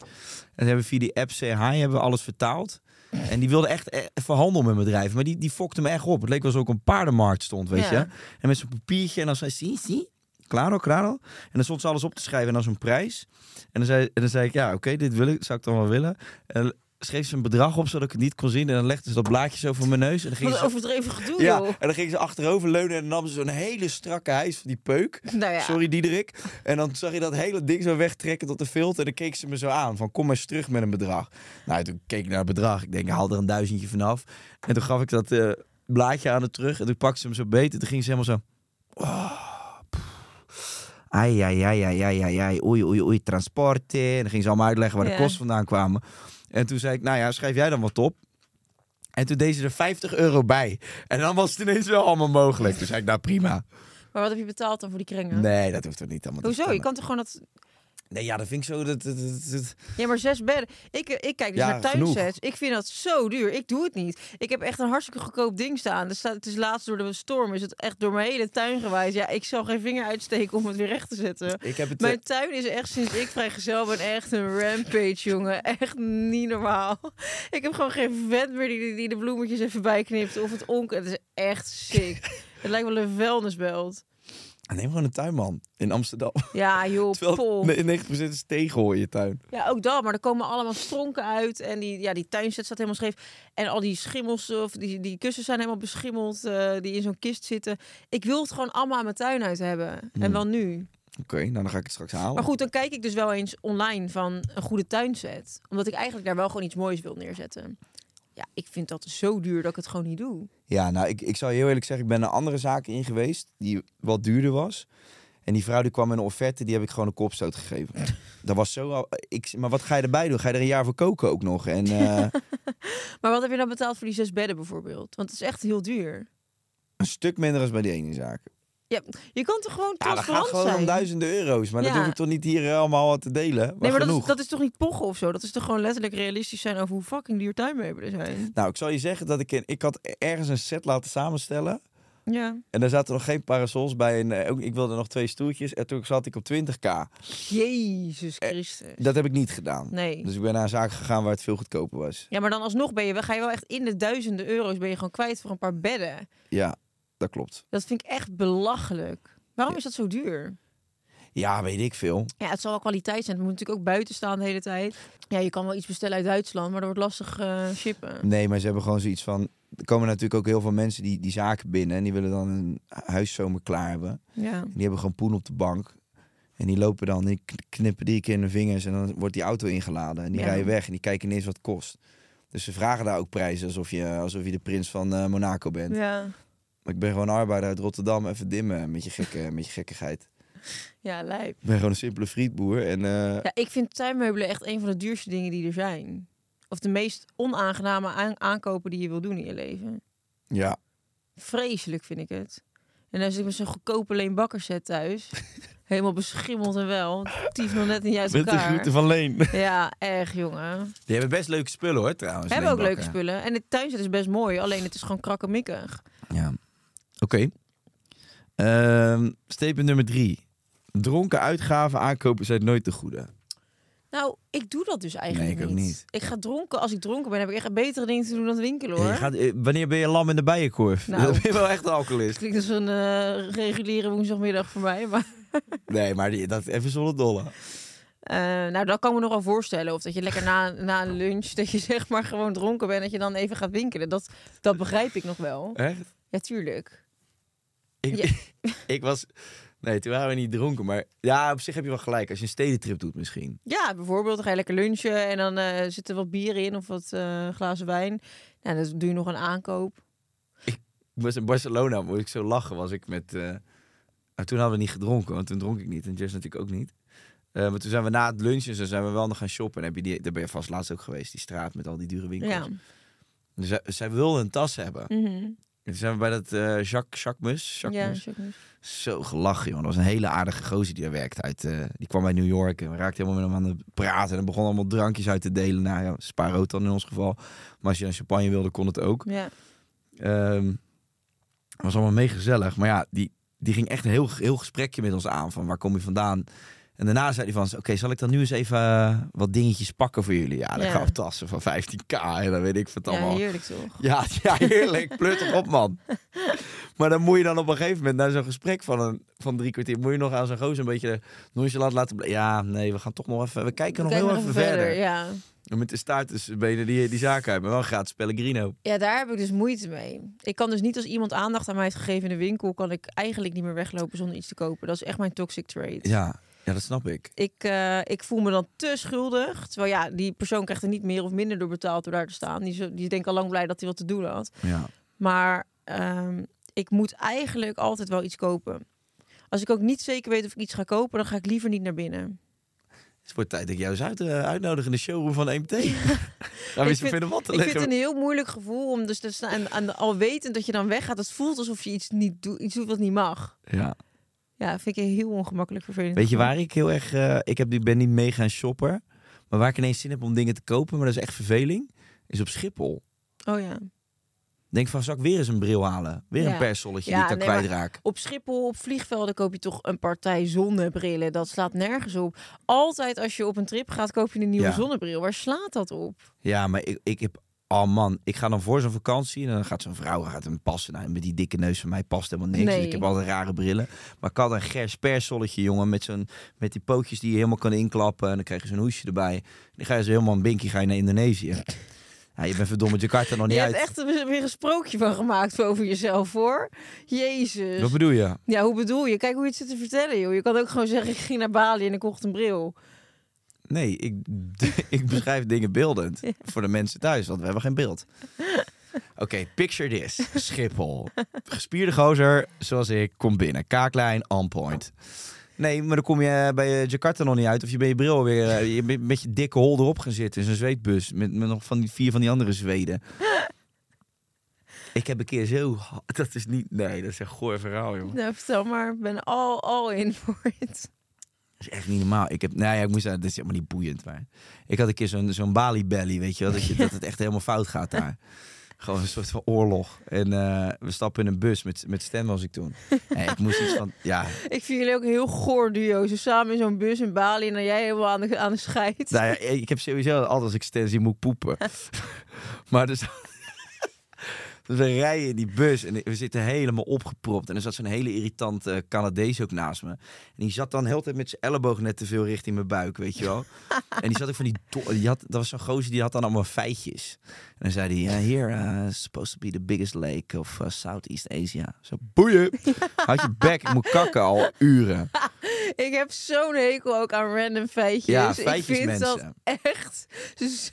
En hebben we via die app CH hebben we alles vertaald. En die wilde echt eh, verhandelen met mijn bedrijf. Maar die, die fokte me echt op. Het leek wel alsof ik op een paardenmarkt stond, weet
Ja.
je. En met zo'n papiertje en dan zei zie, zie. Claro, claro. En dan stond ze alles op te schrijven en dan zo'n prijs. En dan zei, en dan zei ik, ja, oké, dit wil ik, zou ik dan wel willen. En dan schreef ze een bedrag op, zodat ik het niet kon zien. En dan legde ze dat blaadje zo voor mijn neus. En dan ging
Wat
ze,
een overdreven gedoe,
ja,
joh.
en dan ging ze achterover leunen en dan nam ze zo'n hele strakke hijs van die peuk.
[LAUGHS] Nou ja.
Sorry, Diederik. En dan zag je dat hele ding zo wegtrekken tot de filter. En dan keek ze me zo aan van kom eens terug met een bedrag. Nou, toen keek ik naar het bedrag. Ik denk, haal er een duizendje vanaf. En toen gaf ik dat eh, blaadje aan haar terug. En toen pakte ze hem zo beet. En toen ging ze helemaal zo... oh, Ai, ai, ai, ai, ai, ai, ai, oei, oei, oei, transporten. En dan ging ze allemaal uitleggen waar
Ja.
de kosten vandaan kwamen. En toen zei ik, nou ja, schrijf jij dan wat op. En toen deed ze er 50 euro bij. En dan was het ineens wel allemaal mogelijk. Toen zei ik, nou prima.
Maar wat heb je betaald dan voor die kringen?
Nee, dat hoeft toch niet allemaal. te
Hoezo? Je
vertellen.
kan toch gewoon dat...
Nee, ja, dat vind ik zo... Dat, dat, dat- dat-
Ja, maar zes bedden. Ik, ik kijk dus
Ja,
naar
genoeg.
tuinsets. Ik vind dat zo duur. Ik doe het niet. Ik heb echt een hartstikke goedkoop ding staan. Er staat, het is laatst door de storm. Is het echt door mijn hele tuin gewijs. Ja, ik zal geen vinger uitsteken om het weer recht te zetten.
Ik heb het,
mijn
eh,
tuin is echt sinds ik vrijgezel ben echt een rampage, jongen. Echt niet normaal. Ik heb gewoon geen vent meer die, die de bloemetjes even bijknipt. Of het onken. Het is echt
[LAUGHS]
sick. het lijkt wel een vuilnisbelt.
Ah, Neem gewoon een tuinman in Amsterdam. [LAUGHS]
Ja, joh,
Terwijl
pol.
nee, 90% is tegel in je tuin.
Ja, ook dat. Maar er komen allemaal stronken uit. En die, ja, die tuinset staat helemaal scheef. En al die schimmels, eh, of die, die kussens zijn helemaal beschimmeld. eh, die in zo'n kist zitten. Ik wil het gewoon allemaal aan mijn tuin uit hebben.
Hmm.
En wel nu.
Oké, nou dan ga ik het straks halen.
Maar goed, dan kijk ik dus wel eens online van een goede tuinset. Omdat ik eigenlijk daar wel gewoon iets moois wil neerzetten. Ja, ik vind dat dus zo duur dat ik het gewoon niet doe.
Ja, nou, ik, ik zou je heel eerlijk zeggen, ik ben een andere zaak in geweest die wat duurder was. En die vrouw die kwam met een offerte, die heb ik gewoon een kopstoot gegeven.
[LAUGHS]
Dat was zo... al- Ik, maar wat ga je erbij doen? Ga je er een jaar voor koken ook nog? En
[LAUGHS]
eh,
Maar wat heb je dan betaald voor die zes bedden bijvoorbeeld? Want het is echt heel duur.
een stuk minder als bij die ene zaak.
Ja, je kan toch gewoon
Ja, dat gaat
transparant
gewoon om
zijn?
duizenden euro's. Maar dat
Ja.
hoef ik toch niet hier eh, allemaal wat te delen? Maar
Nee, maar dat
genoeg.
is, dat is toch niet pochen of zo? Dat is toch gewoon letterlijk realistisch zijn over hoe fucking duur tuinmeubelen zijn?
Nou, ik zal je zeggen dat ik... In, ik had e- ergens een set laten samenstellen.
Ja.
En daar zaten nog geen parasols bij. En eh, ook, ik wilde nog twee stoeltjes. En toen zat ik op 20k.
Jezus
Eh,
Christus.
Dat heb ik niet gedaan.
Nee.
Dus ik ben naar een zaak gegaan waar het veel goedkoper was.
Ja, maar dan alsnog ben je, ga je wel echt in de duizenden euro's ben je gewoon kwijt voor een paar bedden.
Ja, dat klopt.
Dat vind ik echt belachelijk. Waarom is dat zo duur?
Ja, weet ik veel.
Ja, het zal wel kwaliteit zijn. Het moet natuurlijk ook buiten staan de hele tijd. Ja, je kan wel iets bestellen uit Duitsland, maar dat wordt lastig eh, shippen.
Nee, maar ze hebben gewoon zoiets van... Er komen natuurlijk ook heel veel mensen die, die zaken binnen. En die willen dan een huiszomer klaar hebben.
Ja.
En die hebben gewoon poen op de bank. En die lopen dan, die kn- knippen drie keer in hun vingers. En dan wordt die auto ingeladen. En die
Ja.
rijden weg. En die kijken ineens wat het kost. Dus ze vragen daar ook prijzen alsof je, alsof je de prins van eh, Monaco bent.
Ja.
Maar ik ben gewoon een arbeider uit Rotterdam. Even dimmen met je, gekke,
[LAUGHS]
met je gekkigheid.
ja, lijp.
Ik ben gewoon een simpele frietboer. En eh,
Ja, ik vind tuinmeubelen echt een van de duurste dingen die er zijn. Of de meest onaangename aan- aankopen die je wil doen in je leven.
ja,
Vreselijk vind ik het. En dan zit ik met zo'n goedkope
[LAUGHS]
leenbakkerset thuis. Helemaal beschimmeld en wel. Tief nog net niet uit elkaar.
van
[LAUGHS]
Leen.
Ja, echt jongen.
Die hebben best leuke spullen hoor trouwens.
We hebben ook leuke
Leenbakker.
spullen. En het tuinzet is best mooi. Alleen het is gewoon krakkemikkig.
Ja. Oké. Ehm statement nummer drie. Dronken uitgaven aankopen zijn nooit de goede.
Nou, ik doe dat dus eigenlijk
Nee, ik ook niet.
Ik ga dronken. Als ik dronken ben, heb ik echt betere dingen te doen dan winkelen hoor.
Je gaat, eh, wanneer ben je lam in de bijenkorf?
Nou.
Dan ben je wel echt een alcoholist.
[LAUGHS] Klinkt als een eh, reguliere woensdagmiddag voor mij. Maar
Nee, maar die, dat even zonder dolle.
Eh, nou, dat kan ik me nogal voorstellen. Of dat je lekker na, na een lunch, dat je zeg maar gewoon dronken bent, dat je dan even gaat winkelen. Dat, dat begrijp ik nog wel.
Echt?
Ja, tuurlijk.
Ik, ik was... Nee, toen waren we niet dronken, maar... Ja, op zich heb je wel gelijk. Als je een stedentrip doet misschien.
Ja, bijvoorbeeld, dan ga je lekker lunchen en dan eh, zit er wat bier in of wat eh, glazen wijn. Nou, dan doe je nog een aankoop.
Ik was in Barcelona, moest ik zo lachen, was ik met... eh, Maar toen hadden we niet gedronken, want toen dronk ik niet. En Jess natuurlijk ook niet. Eh, maar toen zijn we na het lunchen, zo zijn we wel nog gaan shoppen. En heb je die, daar ben je vast laatst ook geweest, die straat met al die dure winkels.
Ja.
Dus zij, zij wilde een tas hebben. En
Mhm.
toen zijn we bij dat eh Jacques, Jacques Mus, Jacques
ja,
Mus.
check eens.
Zo gelachen, jongen. Dat was een hele aardige gozer die daar werkt. Uit, eh, die kwam uit New York en we raakten helemaal met hem aan het praten. En begon allemaal drankjes uit te delen. Nou ja, spa rood dan in ons geval. Maar als je een champagne wilde, kon het ook.
ja.
Ehm, het was allemaal meegezellig. Maar ja, die, die ging echt een heel, heel gesprekje met ons aan. Van waar kom je vandaan? En daarna zei hij van, oké, zal ik dan nu eens even eh, wat dingetjes pakken voor jullie? Ja, dan
Ja.
gaf tassen van 15k en dan weet ik wat
ja,
allemaal.
heerlijk toch?
Ja, ja heerlijk. Plut toch op, man. Maar dan moet je dan op een gegeven moment, na zo'n gesprek van, een, van drie kwartier, moet je nog aan zo'n gozer een beetje nonchalant laten blijven. Ja, nee, we gaan toch nog even, we kijken
We
nog
kijken
heel even verder.
Ja.
En Met de staart tussen benen die, die zaak uit, maar wel gratis Pellegrino.
ja, daar heb ik dus moeite mee. Ik kan dus niet als iemand aandacht aan mij heeft gegeven in de winkel, kan ik eigenlijk niet meer weglopen zonder iets te kopen. Dat is echt mijn toxic trait.
Ja, ja, dat snap ik.
ik, eh, ik voel me dan te schuldig. Terwijl ja, die persoon krijgt er niet meer of minder door betaald door daar te staan. Die, is- die is denk ik al lang blij dat hij wat te doen had.
Ja.
Maar ehm, ik moet eigenlijk altijd wel iets kopen. Als ik ook niet zeker weet of ik iets ga kopen, dan ga ik liever niet naar binnen.
Het wordt tijd dat ik jou eens uit, eh, uitnodig in de showroom van EMT. [LAUGHS] Gaan we
ik
eens
vind,
even wat te
ik vind
leggen.
het een heel moeilijk gevoel om dus te staan en, en al wetend dat je dan weggaat. Het voelt alsof je iets niet doet, iets doet wat niet mag.
Ja.
Ja, vind ik heel ongemakkelijk vervelend.
Weet je waar ik heel erg... eh, ik heb, ik ben niet mee gaan shoppen. Maar waar ik ineens zin heb om dingen te kopen, maar dat is echt verveling, is op Schiphol.
Oh ja.
Denk van, zal ik weer eens een bril halen? Weer
Ja.
een perssolletje
Ja,
die ik daar
nee, maar-
kwijtraak.
Op Schiphol, op vliegvelden koop je toch een partij zonnebrillen. Dat slaat nergens op. Altijd als je op een trip gaat, koop je een nieuwe
Ja.
zonnebril. Waar slaat dat op?
Ja, maar ik, ik heb... Oh man, ik ga dan voor zo'n vakantie en dan gaat zo'n vrouw gaat hem passen. Nou, met die dikke neus van mij past helemaal niks.
Nee.
Dus ik heb altijd rare brillen. Maar ik had een gers persolletje, jongen, met, zo'n, met die pootjes die je helemaal kan inklappen. En dan krijg je zo'n hoesje erbij. En dan ga je zo helemaal een binkie ga je naar
[LAUGHS]
Indonesië. Ja, je bent verdomme Jakarta nog niet
je
uit.
hebt echt een- weer een sprookje van gemaakt over jezelf, hoor. Jezus.
Wat bedoel je?
Ja, hoe bedoel je? Kijk hoe je het zit te vertellen, joh. Je kan ook gewoon zeggen, ik ging naar Bali en ik kocht een bril.
Nee, ik, [LAUGHS] ik beschrijf dingen beeldend voor de mensen thuis, want we hebben geen beeld. Oké, picture this. Schiphol. Gespierde gozer, zoals ik, kom binnen. Kaaklijn, on point. Nee, maar dan kom je bij eh, Jakarta nog niet uit. Of je bij je bril weer eh, je bent met je dikke hol erop gaan zitten. in zo'n zweetbus met, met nog van die vier van die andere Zweden. Ik heb een keer zo... Dat is niet... Nee, dat is een goor verhaal, joh.
Nou, vertel maar. Ik ben al, al in voor het.
Dat is echt niet normaal. Ik heb, nou ja, ik moet zeggen, dit is helemaal niet boeiend. Maar ik had een keer zo'n zo'n Bali belly, weet je wel. Dat, je, dat het echt helemaal fout gaat daar. Gewoon een soort van oorlog. En eh, we stappen in een bus. Met, met Stan was ik toen. En ik moest iets van... Ja,
Ik vind jullie ook een heel goor duo. Zo samen in zo'n bus in Bali en dan jij helemaal aan de, aan de scheid.
nou ja, ik heb sowieso altijd als ik Stan zie, moet ik
[LAUGHS]
poepen. maar dus... [LAUGHS] Dus we rijden in die bus en we zitten helemaal opgepropt. En er zat zo'n hele irritante Canadees ook naast me. En die zat dan heel de tijd met zijn elleboog net te veel richting mijn buik, weet je
[LAUGHS]
wel. en die zat ook van die... do- Die had, dat was zo'n gozer, die had dan allemaal feitjes. En dan zei hij, yeah, here uh, is supposed to be the biggest lake of eh, Southeast Asia. Zo,
[LAUGHS]
boeien. Houd je bek, ik moet kakken al uren.
Ik heb zo'n hekel ook aan random feitjes.
Ja,
Ik
feitjes,
vind
mensen.
dat echt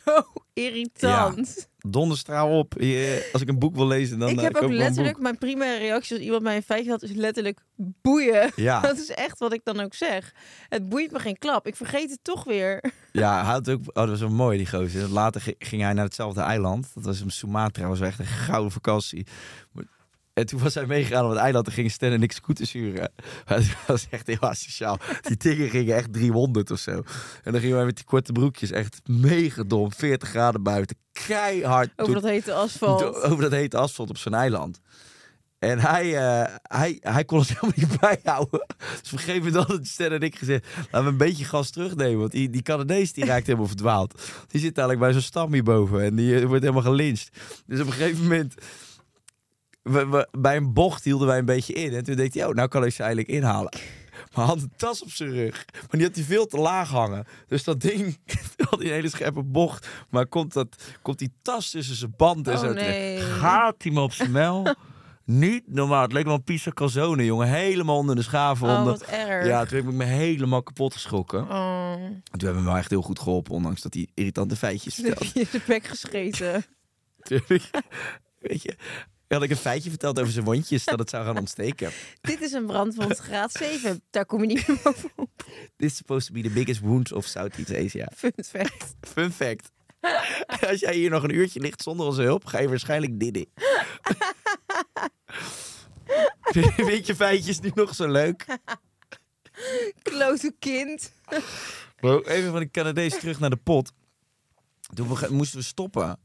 zo irritant.
Donderstraal op. Je- als ik een boek wil lezen, dan
ik
eh,
heb
koop
ook
ik wel een boek.
letterlijk, mijn primaire reactie als iemand mij een feitje had, is letterlijk boeien.
Ja.
[LAUGHS] Dat is echt wat ik dan ook zeg. Het boeit me geen klap. Ik vergeet het toch weer.
Ja, hij had ook. Oh, dat was wel mooi, die gozer. Later ge- ging hij naar hetzelfde eiland. Dat was in Sumatra. was echt een gouden vakantie. Maar- En toen was hij meegegaan op het eiland. En gingen Stan en ik scooters huren. [LAUGHS] Dat was echt heel asociaal. Die dingen gingen echt 300 of zo. En dan gingen wij met die korte broekjes. Echt mega dom. 40 graden buiten. Keihard.
Over
door-
dat hete asfalt.
door- over dat hete asfalt op zo'n eiland. En hij, eh, hij, hij kon het [LAUGHS] helemaal niet bijhouden. Dus op een gegeven moment hadden Stan en ik gezegd... laten we een beetje gas terugnemen. Want die, die Canadees die raakt helemaal verdwaald. Die zit eigenlijk bij zo'n stam hierboven. En die eh, wordt helemaal gelinst. Dus op een gegeven moment... we- we- bij een bocht hielden wij een beetje in. En toen dacht hij, oh, nou kan ik ze eigenlijk inhalen. Maar hij had een tas op zijn rug. Maar die had hij veel te laag hangen. Dus dat ding [LAUGHS] had een hele scherpe bocht. Maar komt, dat, komt die tas tussen zijn band en
Oh,
zo terecht.
nee.
Gaat hij me op zijn
[LAUGHS]
mel? Niet normaal. Het leek wel een pizza calzone, jongen. Helemaal onder de schaven.
Oh,
onder...
wat erg.
Ja, toen heb ik me helemaal kapot geschrokken.
Oh,
En Toen hebben we hem wel echt heel goed geholpen. Ondanks dat hij irritante feitjes
toen [LAUGHS] heb
vertelde.
je de bek gescheten.
Toen heb ik- Weet je... Had ik een feitje verteld over zijn wondjes dat het zou gaan ontsteken.
[LAUGHS] Dit is een brandwond graad 7. Daar kom je niet meer over op.
This is supposed to be the biggest wound of Southeast Asia.
Fun fact.
Fun fact. [LAUGHS] Als jij hier nog een uurtje ligt zonder onze hulp, ga je waarschijnlijk diddy. [LAUGHS] Vind je feitjes nu nog zo leuk?
Klote kind.
Bro, even van de Canadees terug naar de pot. Toen bege- moesten we stoppen.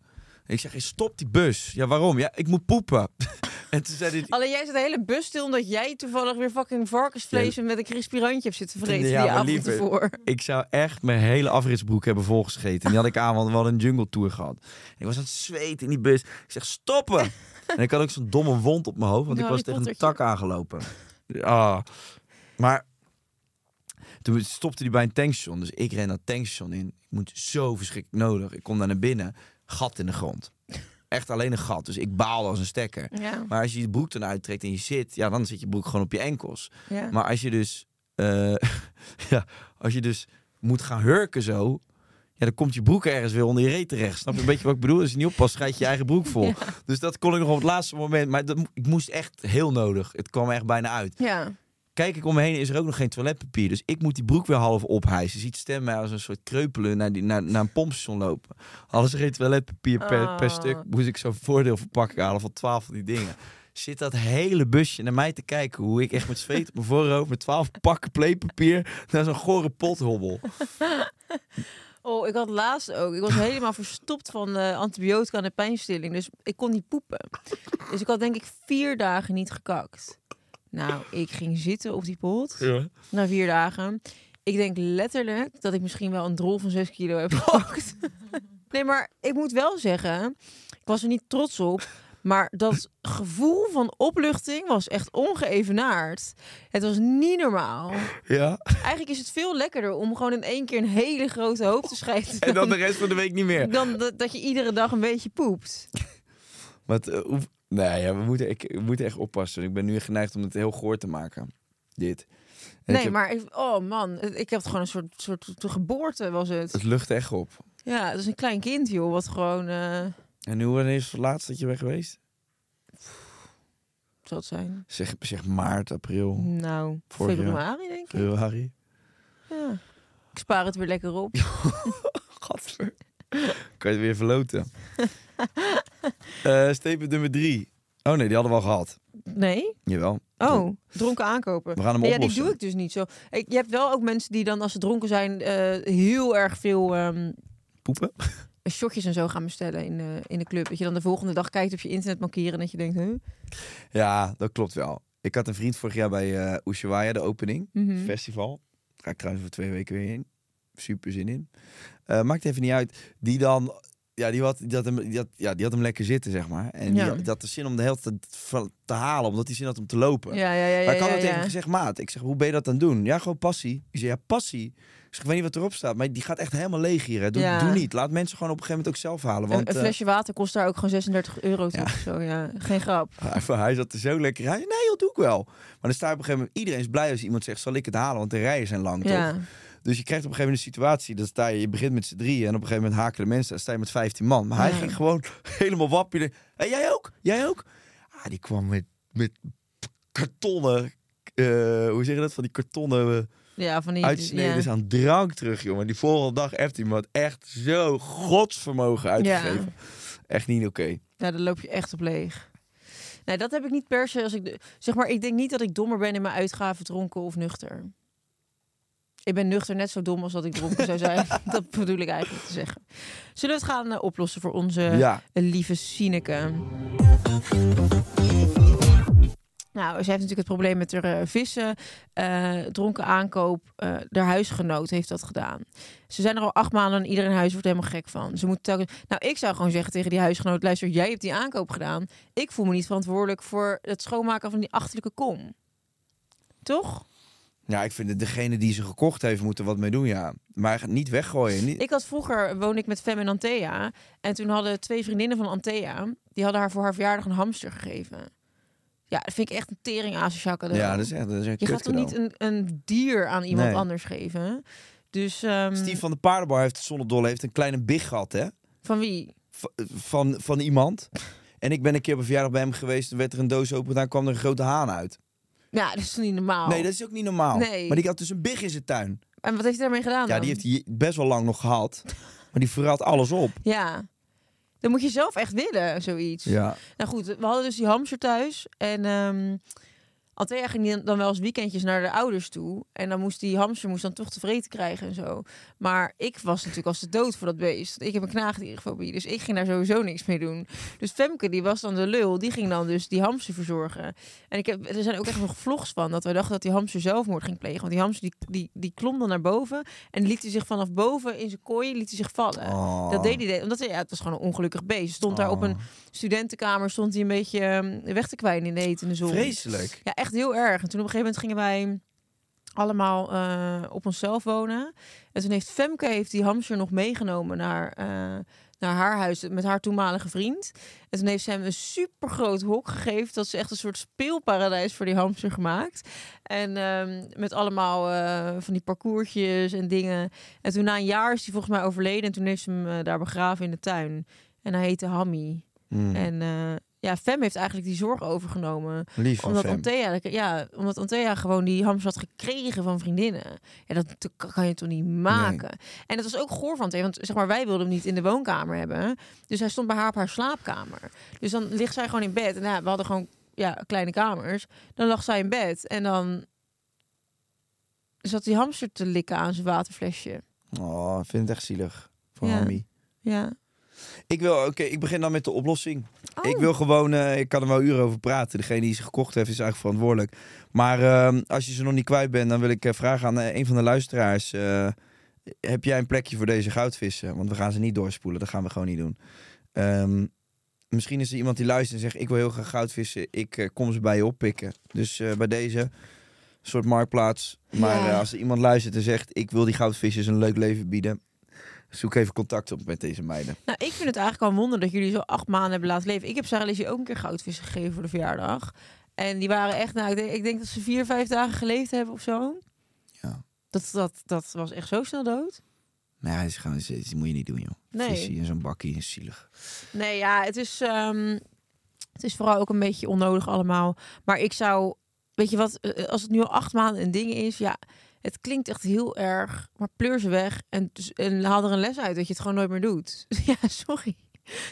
Ik zeg, stop die bus. Ja, waarom? Ja, ik moet poepen. [LAUGHS] en toen zei hij...
Alleen jij zat de hele bus stil omdat jij toevallig weer fucking varkensvlees en met een crispy randje hebt zitten vreten
Ja,
die
maar
avond
liever.
ervoor.
Ik zou echt mijn hele afritsbroek hebben volgescheten. En die had ik aan, want we hadden een jungle tour gehad. Ik was aan het zweten in die bus. Ik zeg, stoppen! En ik had ook zo'n domme wond op mijn hoofd, want
Een
ik was tegen een tak
Harry
aangelopen. Ja. Maar toen stopte hij bij een tankstation. Dus ik ren dat tankstation in. Ik moet zo verschrikkelijk nodig. Ik kom daar naar binnen. Gat in de grond. Echt alleen een gat. Dus ik baal als een stekker.
Ja.
Maar als je je broek dan uittrekt en je zit, ja, dan zit je broek gewoon op je enkels.
Ja.
Maar als je dus, eh, [LAUGHS] ja, als je dus moet gaan hurken zo, ja, dan komt je broek ergens weer onder je reet terecht. Snap je een beetje wat ik bedoel? Als je niet oppast, schijt je je eigen broek vol. Dus dat kon ik nog op het laatste moment. Maar dat, mo- ik moest echt heel nodig. Het kwam echt bijna uit.
Ja.
Kijk ik om me heen, is er ook nog geen toiletpapier. Dus ik moet die broek weer half ophijsen. Je ziet Stem mij als een soort kreupelen naar, die, naar, naar een pompstation lopen. Alles er geen toiletpapier per, per
Ah.
stuk, moest ik zo'n voordeelverpakking halen van twaalf van die dingen. zit dat hele busje naar mij te kijken hoe ik echt met zweet op mijn voorhoofd met twaalf pakken playpapier naar zo'n gore pot hobbel.
Oh, ik had laatst ook. Ik [LAUGHS] was helemaal verstopt van eh, antibiotica en pijnstilling. Dus ik kon niet poepen. Dus ik had denk ik vier dagen niet gekakt. Nou, ik ging zitten op die pot. Na vier dagen. Ik denk letterlijk dat ik misschien wel een drol van zes kilo heb
[LAUGHS]
gepakt. nee, maar ik moet wel zeggen, ik was er niet trots op. Maar dat gevoel van opluchting was echt ongeëvenaard. Het was niet normaal.
Ja.
Eigenlijk is het veel lekkerder om gewoon in één keer een hele grote hoop te schijten.
En dan
dan,
de rest van de week niet meer.
dan dat, dat je iedere dag een beetje poept.
Want, eh, hoe- nou ja, we moeten, ik, we moeten echt oppassen. Ik ben nu geneigd om het heel goor te maken. Dit. En ik
Nee,
heb-
maar ik- oh man, ik heb het gewoon een soort, soort geboorte was het.
Het lucht echt op.
Ja, het is een klein kind joh, wat gewoon, eh, hoe
En hoe wanneer is het laatst dat je bent geweest?
zal het zijn?
Zeg, zeg maart, [LAUGHS] april,
Nou,
Vorig jaar.
februari denk ik.
februari.
Ja. Ik spaar het weer lekker op.
[LAUGHS] Gadver. kan je het weer
[LAUGHS]
verloten. Eh statement nummer drie. Oh nee, die hadden we al gehad.
Nee?
Jawel.
Oh, dronken aankopen.
We gaan hem
ja, die
oplossen.
doe ik dus niet zo. Ik, je hebt wel ook mensen die dan als ze dronken zijn eh, heel erg veel ehm,
Poepen? [LAUGHS]
shotjes en zo gaan bestellen in, eh, in de club. Dat je dan de volgende dag kijkt op je internet markeren en dat je denkt, huh?
Ja, dat klopt wel. Ik had een vriend vorig jaar bij eh Ushuaia, de opening,
Mhm.
festival. Daar ga ik trouwens voor twee weken weer heen. Super zin in. Eh, maakt even niet uit. Die dan, ja, die had, die had, hem, die had, ja, die had hem lekker zitten, zeg maar. En die,
Ja.
had, die had de zin om de hele tijd van- te halen, omdat hij zin had om te lopen.
Ja, ja, ja. ja,
Maar ik had
ja,
ook tegen
ja.
hem gezegd, maat, ik zeg, hoe ben je dat aan het doen? Ja, gewoon passie. Ik zei, ja, passie. Ik zeg, ik weet niet wat erop staat, maar die gaat echt helemaal leeg hier. Hè. Doe,
Ja.
doe niet. Laat mensen gewoon op een gegeven moment ook zelf halen. Want
een, een
eh,
flesje water kost daar ook gewoon 36 euro toch? of Zo, ja. Geen grap.
[LAUGHS] hij, hij zat er zo lekker. Hij zei, nee, dat doe ik wel. Maar dan sta je op een gegeven moment, iedereen is blij als iemand zegt, zal ik het halen? Want de rijen zijn lang,
Ja.
toch? Dus je krijgt op een gegeven moment een situatie, dat sta je, je begint met z'n drieën en op een gegeven moment haken de mensen, dan sta je met 15 man. Maar hij
Ja.
ging gewoon [LAUGHS] helemaal wapperen. En jij ook? Jij ook? Ah, die kwam met, met kartonnen, eh, hoe zeg je dat, van die kartonnen... eh,
ja, van die...
uitsneden
ja.
is aan drank terug, jongen. Die volgende dag heeft hij me wat echt zo godsvermogen uitgegeven. Echt niet oké.
Ja, daar loop je echt op leeg. Nee, dat heb ik niet per se als ik... de- Zeg maar, ik denk niet dat ik dommer ben in mijn uitgaven dronken of nuchter. Ik ben nuchter net zo dom als dat ik dronken zou zijn. dat bedoel ik eigenlijk te zeggen. Zullen we het gaan eh, oplossen voor onze
Ja.
lieve Sineke? Nou, ze heeft natuurlijk het probleem met haar eh, vissen. eh, dronken aankoop. eh haar huisgenoot heeft dat gedaan. Ze zijn er al acht maanden en iedereen in huis wordt helemaal gek van. Ze moet telkens... Nou, ik zou gewoon zeggen tegen die huisgenoot... luister, jij hebt die aankoop gedaan. Ik voel me niet verantwoordelijk voor het schoonmaken van die achterlijke kom. Toch?
Ja, ik vind het degene die ze gekocht heeft, moeten wat mee doen, ja. Maar niet weggooien. Niet...
Ik had vroeger, woonde ik met Fem en Antea. En toen hadden twee vriendinnen van Antea... die hadden haar voor haar verjaardag een hamster gegeven. Ja, dat vind ik echt een tering asociaal cadeau.
Ja, dat is echt dat is een
Je gaat toch
kutcadeau.
niet een, een dier aan iemand
Nee.
anders geven? Dus ehm,
Steve van de Paardenbar heeft zonnedolle, heeft een kleine big gehad, hè?
van wie?
Va- Van, van iemand. En ik ben een keer op een verjaardag bij hem geweest. Toen werd er een doos open. Daar kwam er een grote haan uit.
Ja, dat is niet normaal.
Nee, dat is ook niet normaal.
Oh. Nee. Oh.
Maar die had dus een big in zijn tuin.
En wat heeft hij daarmee gedaan
Ja,
dan?
die heeft hij best wel lang nog gehad. Maar die verraadt alles op.
Ja. Dan moet je zelf echt willen, zoiets.
Ja.
Nou goed, we hadden dus die hamster thuis. En ehm Althea ging die dan wel eens weekendjes naar de ouders toe. En dan moest die hamster moest dan toch tevreden krijgen en zo. Maar ik was natuurlijk als de dood voor dat beest. Ik heb een knaagdierenfobie, dus ik ging daar sowieso niks mee doen. Dus Femke, die was dan de lul, die ging dan dus die hamster verzorgen. En ik heb, er zijn ook echt nog vlogs van dat wij dachten dat die hamster zelfmoord ging plegen. Want die hamster die, die, die klom dan naar boven en liet hij zich vanaf boven in zijn kooi liet hij zich vallen.
Oh.
Dat deed hij, omdat hij, ja, het was gewoon een ongelukkig beest. Stond daar op een studentenkamer, stond hij een beetje ehm, weg te kwijnen in de etende zon.
Vreselijk.
Ja, echt heel erg. En toen op een gegeven moment gingen wij allemaal eh, op onszelf wonen. En toen heeft Femke heeft die hamster nog meegenomen naar, eh, naar haar huis met haar toenmalige vriend. En toen heeft ze hem een supergroot hok gegeven. Dat ze echt een soort speelparadijs voor die hamster gemaakt. En ehm, met allemaal eh, van die parcoursjes en dingen. En toen na een jaar is hij volgens mij overleden. En toen heeft ze hem eh, daar begraven in de tuin. En hij heette Hammy.
Mhm.
En eh, ja, Fem heeft eigenlijk die zorg overgenomen
Lief van
omdat
Fem.
Antea, ja, omdat Antea gewoon die hamster had gekregen van vriendinnen. Ja, dat t- kan je toch niet maken. En dat was ook goor van Antea, want zeg maar, wij wilden hem niet in de woonkamer hebben. Dus hij stond bij haar op haar slaapkamer. Dus dan ligt zij gewoon in bed. En ja, we hadden gewoon ja, kleine kamers. Dan lag zij in bed en dan zat die hamster te likken aan zijn waterflesje.
Oh, ik vind het echt zielig voor
Ja.
Hammy.
Ja.
Ik wil, oké, ik begin dan met de oplossing.
Oh.
Ik wil gewoon, eh, ik kan er wel uren over praten. Degene die ze gekocht heeft is eigenlijk verantwoordelijk. Maar ehm, als je ze nog niet kwijt bent, dan wil ik eh, vragen aan eh, een van de luisteraars. eh, heb jij een plekje voor deze goudvissen? Want we gaan ze niet doorspoelen, dat gaan we gewoon niet doen. Ehm, misschien is er iemand die luistert en zegt, ik wil heel graag goudvissen. Ik eh, kom ze bij je oppikken. Dus eh, bij deze soort marktplaats. Maar
Ja.
eh, als er iemand luistert en zegt, ik wil die goudvisjes een leuk leven bieden. Zoek even contact op met deze meiden.
Nou, ik vind het eigenlijk wel een wonder dat jullie zo acht maanden hebben laten leven. Ik heb Sarah Lizzie ook een keer goudvissen gegeven voor de verjaardag. En die waren echt, nou, ik denk, ik denk dat ze vier, vijf dagen geleefd hebben of zo.
Ja.
Dat, dat, dat was echt zo snel dood.
Nee, dat, is gewoon, dat is- dat moet je niet doen, joh.
Nee.
Visie in zo'n bakkie is zielig.
Nee, ja, het is, ehm, het is vooral ook een beetje onnodig allemaal. Maar ik zou, weet je wat, eh, als het nu al acht maanden een ding is, ja, het klinkt echt heel erg, maar pleur ze weg en, dus- en haal er een les uit dat je het gewoon nooit meer doet. [LAUGHS] Ja, sorry.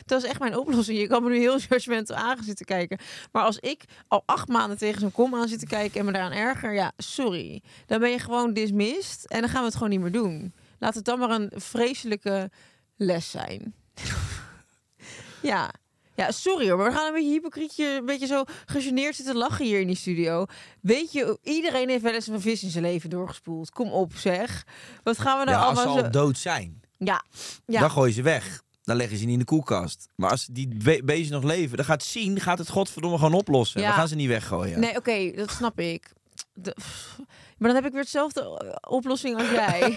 Dat is echt mijn oplossing. Je kan me nu heel judgmental aan gaan zitten kijken. Maar als ik al acht maanden tegen zo'n kom aan zit te kijken en me daaraan erger, ja, sorry. Dan ben je gewoon dismissed en dan gaan we het gewoon niet meer doen. Laat het dan maar een vreselijke les zijn. [LAUGHS] Ja. Ja, sorry hoor, maar we gaan een beetje hypocrietje, een beetje zo gegeneerd zitten lachen hier in die studio. Weet je, iedereen heeft wel eens een vis in zijn leven doorgespoeld. Kom op zeg. Wat gaan we nou
ja, als ze
allemaal
al
zo...
dood zijn,
Ja, ja.
dan gooi je ze weg. Dan leggen ze niet in de koelkast. Maar als die be- beestjes nog leven, dan gaat zien, gaat het godverdomme gewoon oplossen.
Ja.
Dan gaan ze niet weggooien.
Nee, oké, dat snap ik. De- pff. maar dan heb ik weer hetzelfde eh, oplossing als [LAUGHS] jij.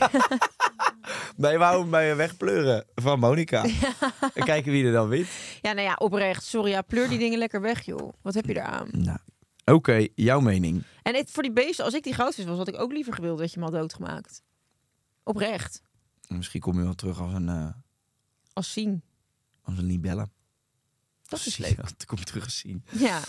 Wij wouden bij wegpleuren van Monica.
[LAUGHS]
En kijken wie er dan wint.
ja, nou ja, oprecht. Sorry, ja, pleur die dingen lekker weg, joh. Wat heb je eraan?
Nou, Oké, jouw mening.
En het, voor die beesten, als ik die goudvis was, had ik ook liever gewild dat je me had doodgemaakt. Oprecht.
Misschien kom je wel terug als een, eh
Als zien.
als een libelle.
Dat is
Zie-
leuk.
Dan kom je terug als zien.
Ja.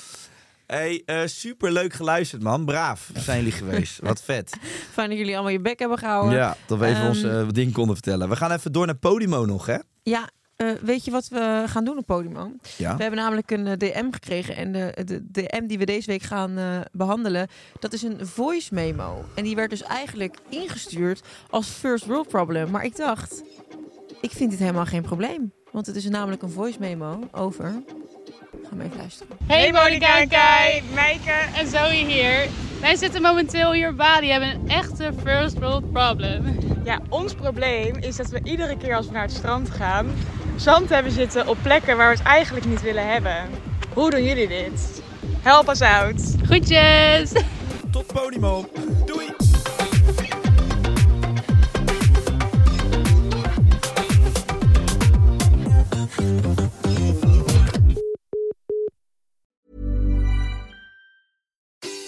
hey, eh, superleuk geluisterd man. Braaf zijn jullie geweest. Wat vet.
Fijn dat jullie allemaal je bek hebben gehouden.
Ja, dat we even
Ehm,
ons eh, ding konden vertellen. We gaan even door naar Podimo nog, hè?
Ja, eh, weet je wat we gaan doen op Podimo?
Ja.
We hebben namelijk een eh, DM gekregen. En de, de DM die we deze week gaan eh, behandelen, dat is een voice memo. En die werd dus eigenlijk ingestuurd als first world problem. Maar ik dacht, ik vind dit helemaal geen probleem. Want het is namelijk een voice memo over... Ga maar even luisteren.
Hey Monika en Kai, Meike en Zoe hier. Wij zitten momenteel hier op Bali, hebben een echte first world problem.
Ja, ons probleem is dat we iedere keer als we naar het strand gaan, zand hebben zitten op plekken waar we het eigenlijk niet willen hebben. Hoe doen jullie dit? Help us out!
Groetjes!
Tot Podimo. Doei.